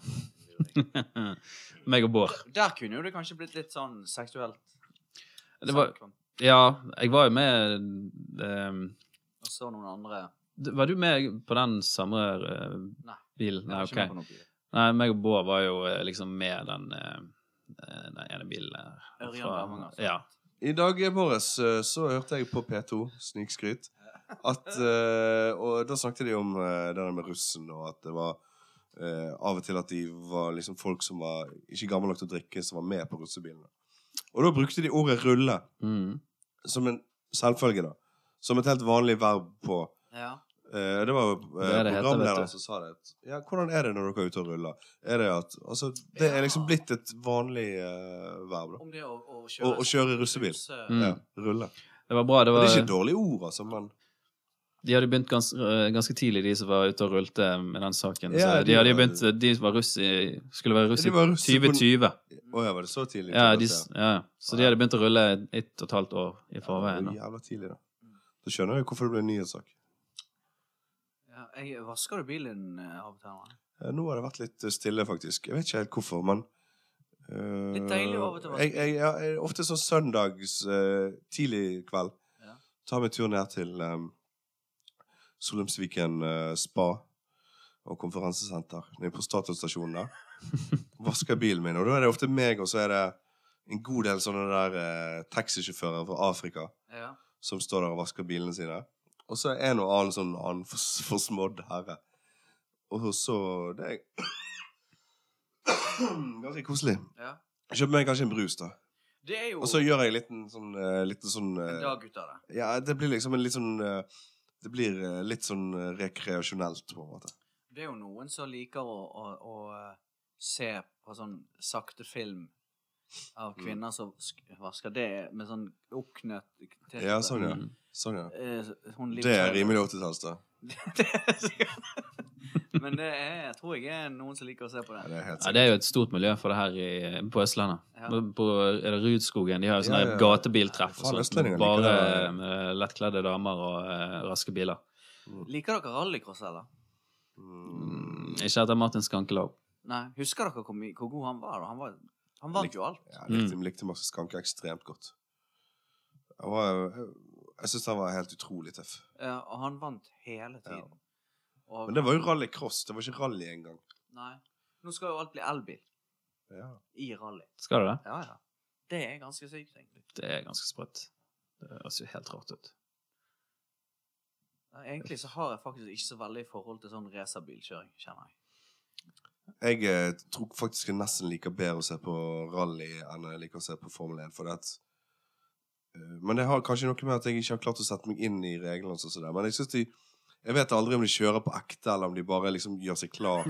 [SPEAKER 3] Meg og Bård.
[SPEAKER 2] Der kunne jo det kanskje blitt litt sånn seksuelt.
[SPEAKER 3] Det var,
[SPEAKER 2] samkvem.
[SPEAKER 3] ja, jeg var jo med eh,
[SPEAKER 2] Og så noen andre
[SPEAKER 3] Du- Var du med på den samme eh,
[SPEAKER 2] Nei.
[SPEAKER 3] bilen?
[SPEAKER 4] Jeg
[SPEAKER 3] Nei,
[SPEAKER 4] var
[SPEAKER 3] ok.
[SPEAKER 4] ikke med på noe bil.
[SPEAKER 3] Nei, meg og Bård var jo eh, liksom med den, eh, eh, den ene bilen der.
[SPEAKER 2] Ørjan
[SPEAKER 3] fra-
[SPEAKER 2] Bermanger,
[SPEAKER 4] altså.
[SPEAKER 2] sant?
[SPEAKER 3] Ja.
[SPEAKER 1] I dag morges eh, så hørte jeg på P2, snikskryt, at eh, Og da snakket de om eh, det der med russen, og at det var eh, av og til at de var liksom folk som var ikke gammel nok til å drikke, som var med på russebilene. Og da brukte de ordet 'rulle'
[SPEAKER 3] Mm.
[SPEAKER 1] som en selvfølge, da. Som et helt vanlig verb på
[SPEAKER 2] Ja.
[SPEAKER 1] Eh, Det var jo
[SPEAKER 3] Det er
[SPEAKER 1] eh,
[SPEAKER 3] det heter, vet
[SPEAKER 1] programlederen
[SPEAKER 3] du.
[SPEAKER 1] som sa det. at, Ja, hvordan er det når dere er ute og ruller? Er det at Altså, det er liksom blitt et vanlig eh, verb, da.
[SPEAKER 2] Om det å, å kjøre,
[SPEAKER 1] Å- å kjøre russebil.
[SPEAKER 2] Russe-
[SPEAKER 3] Mm.
[SPEAKER 1] Ja, rulle.
[SPEAKER 3] Det var bra. Det
[SPEAKER 1] Og
[SPEAKER 3] var,
[SPEAKER 1] det er ikke et dårlig ord, altså, men
[SPEAKER 3] De hadde begynt gans, øh, ganske tidlig, de som var ute og rulte med den saken.
[SPEAKER 1] Ja,
[SPEAKER 3] så de,
[SPEAKER 1] de
[SPEAKER 3] hadde
[SPEAKER 1] var-
[SPEAKER 3] begynt, eh, de som var russ i, skulle være russ i
[SPEAKER 1] De var russ på-
[SPEAKER 3] 2020.
[SPEAKER 1] Å ja, var det så tidlig?
[SPEAKER 3] Ja,
[SPEAKER 1] til
[SPEAKER 3] de,
[SPEAKER 1] dette?
[SPEAKER 3] ja, så de hadde begynt å rulle ett og et halvt år i
[SPEAKER 1] Ja, det
[SPEAKER 3] forveien. da.
[SPEAKER 1] var Jævla tidlig, da. Da skjønner jeg jo hvorfor det ble en nyhetssak.
[SPEAKER 2] Ja, jeg, vasker du bilen din eh, av og til? Anna?
[SPEAKER 1] Eh, Nå har det vært litt eh, stille, faktisk. Jeg vet ikke helt hvorfor, men eh,
[SPEAKER 2] Litt deilig å av og til vaske.
[SPEAKER 1] jeg, jeg, ja, jeg, Ofte sånn søndags eh, tidlig kveld.
[SPEAKER 2] Ja.
[SPEAKER 1] Ta meg en tur ned til um, Solheimsviken eh, spa og konferansesenter. Nede på Statoil-stasjonen der. Vasker bilen min, og da er det ofte meg, og så er det en god del sånne der eh, taxisjåfører fra Afrika
[SPEAKER 2] Ja.
[SPEAKER 1] som står der og vasker bilene sine. Og så er en og annen sånn annen fors- forsmådd herre. Og så Det er ganske koselig.
[SPEAKER 2] ja.
[SPEAKER 1] Kjøper meg kanskje en brus, da.
[SPEAKER 2] Det er jo
[SPEAKER 1] Og så gjør jeg en liten sånn, eh, liten sånn
[SPEAKER 2] en
[SPEAKER 1] eh,
[SPEAKER 2] dag ut av det.
[SPEAKER 1] Ja, det blir liksom en litt sånn eh, Det blir eh, litt sånn eh, rekreasjonelt, på en måte.
[SPEAKER 2] Det er jo noen som liker å, å, å eh, se på sånn sakte film av
[SPEAKER 1] Mm.
[SPEAKER 2] kvinner som sk- vasker det med sånn oppknøtt t-skjorte.
[SPEAKER 1] Ja, sånn, ja.
[SPEAKER 3] Mm.
[SPEAKER 1] Sånn, ja.
[SPEAKER 2] Eh, hun liker
[SPEAKER 1] Det er rimelig 80-talls, da.
[SPEAKER 2] Det er sikkert- Men det er, jeg tror jeg er noen som liker å se på
[SPEAKER 1] Ja,
[SPEAKER 2] det.
[SPEAKER 1] det er helt
[SPEAKER 3] Ja, det er jo et stort miljø for det her i, på Østlandet.
[SPEAKER 2] Ja.
[SPEAKER 3] På, er det Rudskogen? De har jo sånne
[SPEAKER 1] Ja, ja, ja.
[SPEAKER 3] gatebiltreff.
[SPEAKER 1] Faen,
[SPEAKER 3] og sånt,
[SPEAKER 1] østlendinger liker
[SPEAKER 3] bare
[SPEAKER 1] det.
[SPEAKER 3] med lettkledde damer og eh, raske biler.
[SPEAKER 2] Liker dere rallycross, eller?
[SPEAKER 1] Mm,
[SPEAKER 3] Mm, ikke etter Martin Skankelag.
[SPEAKER 2] Nei. Husker dere hvor, my- hvor god han var? da? Han, var, han vant jo alt.
[SPEAKER 1] ja, jeg likte, likte Max Skanke ekstremt godt. Jeg, var, jeg, jeg syns han var helt utrolig tøff.
[SPEAKER 2] Ja, og han vant hele tiden. Og,
[SPEAKER 1] Men det var jo rallycross. Det var ikke rally engang.
[SPEAKER 2] Nei. Nå skal jo alt bli elbil
[SPEAKER 1] Ja.
[SPEAKER 2] i rally.
[SPEAKER 3] Skal du det?
[SPEAKER 2] Ja, ja. Det er ganske sykt, egentlig.
[SPEAKER 3] Det er ganske sprøtt. Det høres jo helt rart ut.
[SPEAKER 2] Ja, Egentlig så har jeg faktisk ikke så veldig forhold til sånn racerbilkjøring, kjenner jeg.
[SPEAKER 1] Jeg eh, tror faktisk jeg nesten liker bedre å se på rally enn jeg liker å se på Formel 1. For det at, eh, men det har kanskje noe med at jeg ikke har klart å sette meg inn i reglene. og sånn som det. Men jeg synes de, jeg vet aldri om de kjører på ekte, eller om de bare liksom gjør seg klar.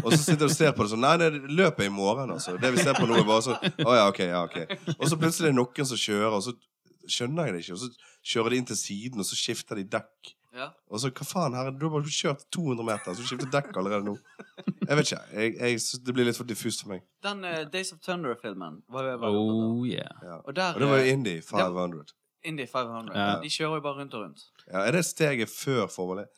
[SPEAKER 1] Og så sitter du og ser på det sånn Nei, det løpet er i morgen, altså. Det vi ser på nå, er bare sånn Å ja, ok, ja, ok. Og så plutselig er det noen som kjører, og så skjønner jeg det ikke. Og så kjører de inn til siden, og så skifter de dekk.
[SPEAKER 2] Ja.
[SPEAKER 1] Og så, hva faen herre, du har bare kjørt 200 meter, så du skifter dekk allerede nå. Jeg vet ikke, jeg, jeg, synes det blir litt for diffust for meg.
[SPEAKER 2] Den eh, Days of Thunder-filmen var jo jeg veldig opptatt av.
[SPEAKER 3] Oh yeah.
[SPEAKER 1] Ja.
[SPEAKER 2] Og der
[SPEAKER 1] Og det var jo
[SPEAKER 2] eh,
[SPEAKER 1] Indie 500.
[SPEAKER 2] Indie 500.
[SPEAKER 3] Ja.
[SPEAKER 2] De kjører jo bare rundt og rundt.
[SPEAKER 1] Ja, er det steget før Formel 1?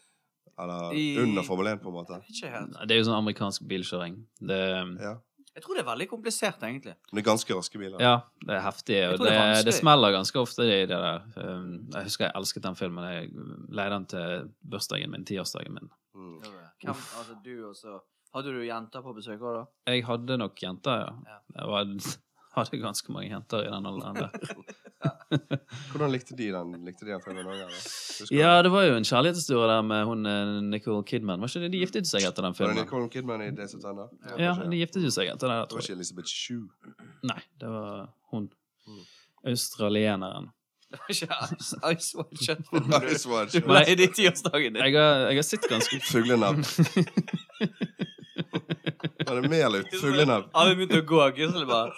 [SPEAKER 1] Eller
[SPEAKER 2] I-
[SPEAKER 1] under Formel 1, på en måte?
[SPEAKER 2] Ikke helt.
[SPEAKER 3] Det er jo sånn amerikansk bilkjøring. Det,
[SPEAKER 1] Ja.
[SPEAKER 2] Jeg tror det er veldig komplisert, egentlig.
[SPEAKER 1] Men det er ganske raske biler.
[SPEAKER 3] ja, det er heftig.
[SPEAKER 2] Jeg
[SPEAKER 3] Og
[SPEAKER 2] tror det
[SPEAKER 3] det,
[SPEAKER 2] er vanskelig.
[SPEAKER 3] det smeller ganske ofte i det der. Um, jeg husker jeg elsket den filmen. Jeg leide den til bursdagen min, tiårsdagen min.
[SPEAKER 1] Mm.
[SPEAKER 2] Hvem, altså, du og så Hadde du jenter på besøk òg, da?
[SPEAKER 3] Jeg hadde nok jenter, ja.
[SPEAKER 2] Ja.
[SPEAKER 3] Jeg var, hadde ganske mange jenter i den alderen der.
[SPEAKER 1] Hvordan likte de den? Likte de den filmen òg, eller? Husker du?
[SPEAKER 3] Ja, det var jo en kjærlighetshistorie der med hun eh, Nicole Kidman. Var ikke det de giftet seg etter den
[SPEAKER 1] Var det
[SPEAKER 3] filmen?
[SPEAKER 1] Nicole Kidman i Days of Thunder?
[SPEAKER 3] Ja,
[SPEAKER 1] kanskje,
[SPEAKER 3] de giftet jo seg etter
[SPEAKER 1] Det
[SPEAKER 3] det. der,
[SPEAKER 1] var
[SPEAKER 3] Tror jeg.
[SPEAKER 1] ikke Elisabeth Shue.
[SPEAKER 3] Nei, det var hun.
[SPEAKER 1] Mm.
[SPEAKER 3] Australieneren.
[SPEAKER 2] Det var ikke Ice, ice White Shut.
[SPEAKER 1] Nice one.
[SPEAKER 2] Du ble i de tiårsdagen din.
[SPEAKER 3] Jeg har, jeg har sett ganske
[SPEAKER 1] Fuglenavn. Var det Melut? Fuglenavn.
[SPEAKER 2] Har vi begynt å gå, Gisle bare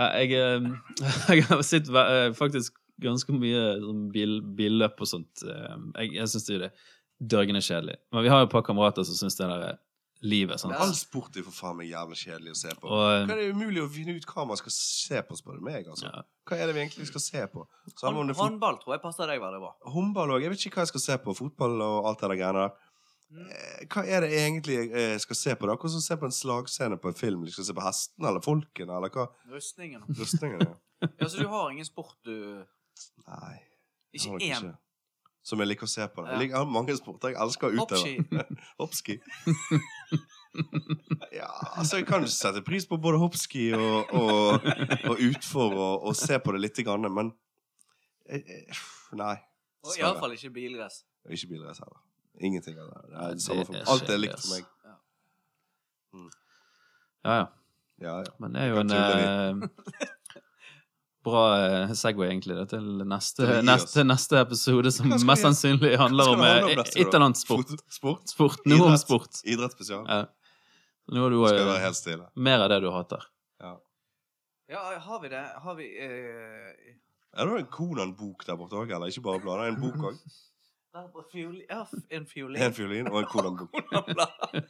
[SPEAKER 3] Ja, jeg, eh, jeg har sett ve- eh, faktisk ganske mye sånn bil, billøp og sånt. eh, Jeg, jeg syns det er dørgende kjedelig. Men vi har jo et par kamerater som syns det der er livet. Sant?
[SPEAKER 1] All sport er for faen meg jævla kjedelig å se på.
[SPEAKER 3] Og
[SPEAKER 1] Hva
[SPEAKER 3] eh,
[SPEAKER 1] er det umulig å finne ut hva man skal se på, spør du meg? altså?
[SPEAKER 3] Ja.
[SPEAKER 1] Hva er det vi egentlig skal se på? Samme om
[SPEAKER 2] Hånd-
[SPEAKER 1] det er fot-
[SPEAKER 2] Håndball tror jeg passer deg veldig bra.
[SPEAKER 1] Håndball òg. Jeg vet ikke hva jeg skal se på. Fotball og alt det der greiene der.
[SPEAKER 2] Mm.
[SPEAKER 1] Eh, Hva er det egentlig jeg eh, skal se på? da? Hvordan skal jeg se på en slagscene på en film? Jeg skal se på hestene eller folkene eller hva?
[SPEAKER 2] Rustningen.
[SPEAKER 1] Rustningene?
[SPEAKER 2] Ja, så du har ingen sport du
[SPEAKER 1] Nei. Jeg har
[SPEAKER 2] Ikke
[SPEAKER 1] nok
[SPEAKER 2] én.
[SPEAKER 1] Som jeg liker å se på. Det.
[SPEAKER 2] Ja.
[SPEAKER 1] Jeg liker jeg har mange sporter jeg elsker å utøve.
[SPEAKER 2] Hoppski.
[SPEAKER 1] Hoppski. ja, altså jeg kan sette pris på både hoppski og, og, og utfor og, og se på det lite grann, men jeg, jeg, nei.
[SPEAKER 2] Og
[SPEAKER 1] dessverre.
[SPEAKER 2] iallfall ikke bilgress.
[SPEAKER 1] Og ikke bilrace heller. Ingenting av det. det, er det samme
[SPEAKER 3] Det
[SPEAKER 1] for
[SPEAKER 3] er
[SPEAKER 1] meg. Alt er
[SPEAKER 3] kjedelig,
[SPEAKER 1] likt
[SPEAKER 3] ass.
[SPEAKER 1] for meg.
[SPEAKER 3] Ja, ja.
[SPEAKER 1] Ja, ja.
[SPEAKER 3] Men det er jo en eh, bra eh, Segway, egentlig, det, til neste,
[SPEAKER 1] Til å gi oss.
[SPEAKER 3] neste, neste episode, som
[SPEAKER 1] Hva skal
[SPEAKER 3] mest
[SPEAKER 1] vi-
[SPEAKER 3] sannsynlig handler
[SPEAKER 1] Hva
[SPEAKER 3] om
[SPEAKER 1] skal det handle om
[SPEAKER 3] eh, et
[SPEAKER 1] neste
[SPEAKER 3] eller
[SPEAKER 1] gang?
[SPEAKER 3] annet sport.
[SPEAKER 1] Fot- Sport?
[SPEAKER 3] Sport. Noe om
[SPEAKER 1] Idrett.
[SPEAKER 3] sport.
[SPEAKER 1] Idrett spesial?
[SPEAKER 3] Ja. Nå har du
[SPEAKER 1] Skal jeg være
[SPEAKER 3] eh,
[SPEAKER 1] helt stille?
[SPEAKER 3] mer av det du hater.
[SPEAKER 2] Ja, har vi det? Har vi eh,
[SPEAKER 1] Er det en Konan-bok der borte òg, eller? Ikke bare blader. En bok òg.
[SPEAKER 2] der på fioli- ja, f- En
[SPEAKER 1] En
[SPEAKER 2] fiolin?
[SPEAKER 1] fiolin og en Konan-bok.
[SPEAKER 2] Kondomblad.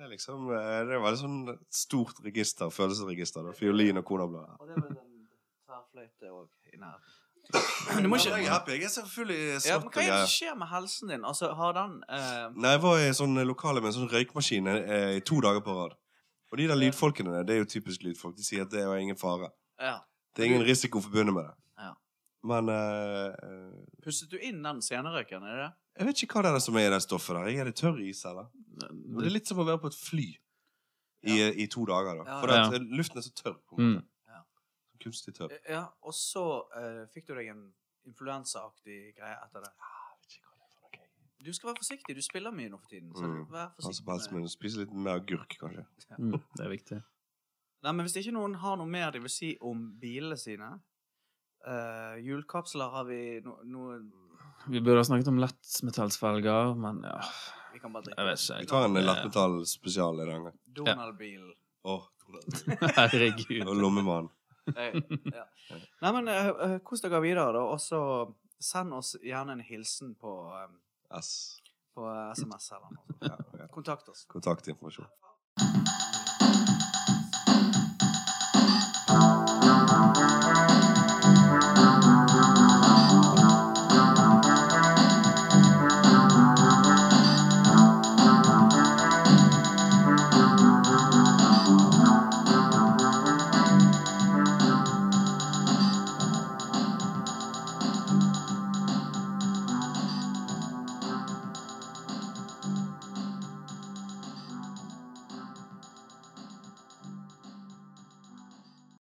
[SPEAKER 1] Det er liksom eh, Det er veldig sånn stort register, følelsesregister. da. Fiolin og Konan-blader.
[SPEAKER 2] Og det er vel en tverrfløyte òg i nærheten. Du må
[SPEAKER 1] Jeg er
[SPEAKER 2] ikke
[SPEAKER 1] happy. Jeg er selvfølgelig
[SPEAKER 2] ja,
[SPEAKER 1] svart
[SPEAKER 2] men
[SPEAKER 1] og
[SPEAKER 2] Hva er det
[SPEAKER 1] greier.
[SPEAKER 2] som skjer med helsen din? Altså, har den eh,
[SPEAKER 1] Nei, jeg var i sånn lokale med en sånn røykmaskin eh, i to dager på rad. Og de der lydfolkene der, det er jo typisk lydfolk. De sier at det er jo ingen fare.
[SPEAKER 2] ja.
[SPEAKER 1] Det er ingen risiko forbundet med det.
[SPEAKER 2] Ja.
[SPEAKER 1] Men eh,
[SPEAKER 2] Pustet du inn den senerøyken, er det det?
[SPEAKER 1] Jeg vet ikke hva det er som er i det stoffet der. Er det tørr is, eller? Men det er litt som å være på et fly i, eh, i to dager, da.
[SPEAKER 2] Ja,
[SPEAKER 1] For
[SPEAKER 3] ja.
[SPEAKER 1] at eh, luften er så tørr. på en måte.
[SPEAKER 3] Mm.
[SPEAKER 1] Kunstig tørr.
[SPEAKER 2] Ja, og så eh, fikk du deg en influensaaktig greie etter det. Du skal være forsiktig. Du spiller mye nå for tiden. Så
[SPEAKER 1] Mm.
[SPEAKER 2] vær
[SPEAKER 1] Altså,
[SPEAKER 2] forsiktig.
[SPEAKER 1] på helsemiddag, Spise litt mer agurk, kanskje.
[SPEAKER 3] Mm, det er viktig.
[SPEAKER 2] Nei, men hvis ikke noen har noe mer de vil si om bilene sine eh, Hjulkapsler har vi no, noe
[SPEAKER 3] Vi burde ha snakket om lettmetallsfelger, men ja
[SPEAKER 2] Vi kan bare drikke.
[SPEAKER 3] Jeg vet ikke.
[SPEAKER 1] Vi
[SPEAKER 3] jeg.
[SPEAKER 1] tar en
[SPEAKER 3] Det-
[SPEAKER 1] lettmetallspesial en gang.
[SPEAKER 2] Donald-bil.
[SPEAKER 1] Åh,
[SPEAKER 3] Herregud.
[SPEAKER 1] og lommemann.
[SPEAKER 2] Eh, ja. Nei, men eh, eh, kos dere videre, da. Og så send oss gjerne en hilsen på, eh,
[SPEAKER 1] S.
[SPEAKER 2] på SMS eller noe sånt.
[SPEAKER 1] Ja, ja.
[SPEAKER 2] Kontakt oss.
[SPEAKER 1] Kontaktinformasjon.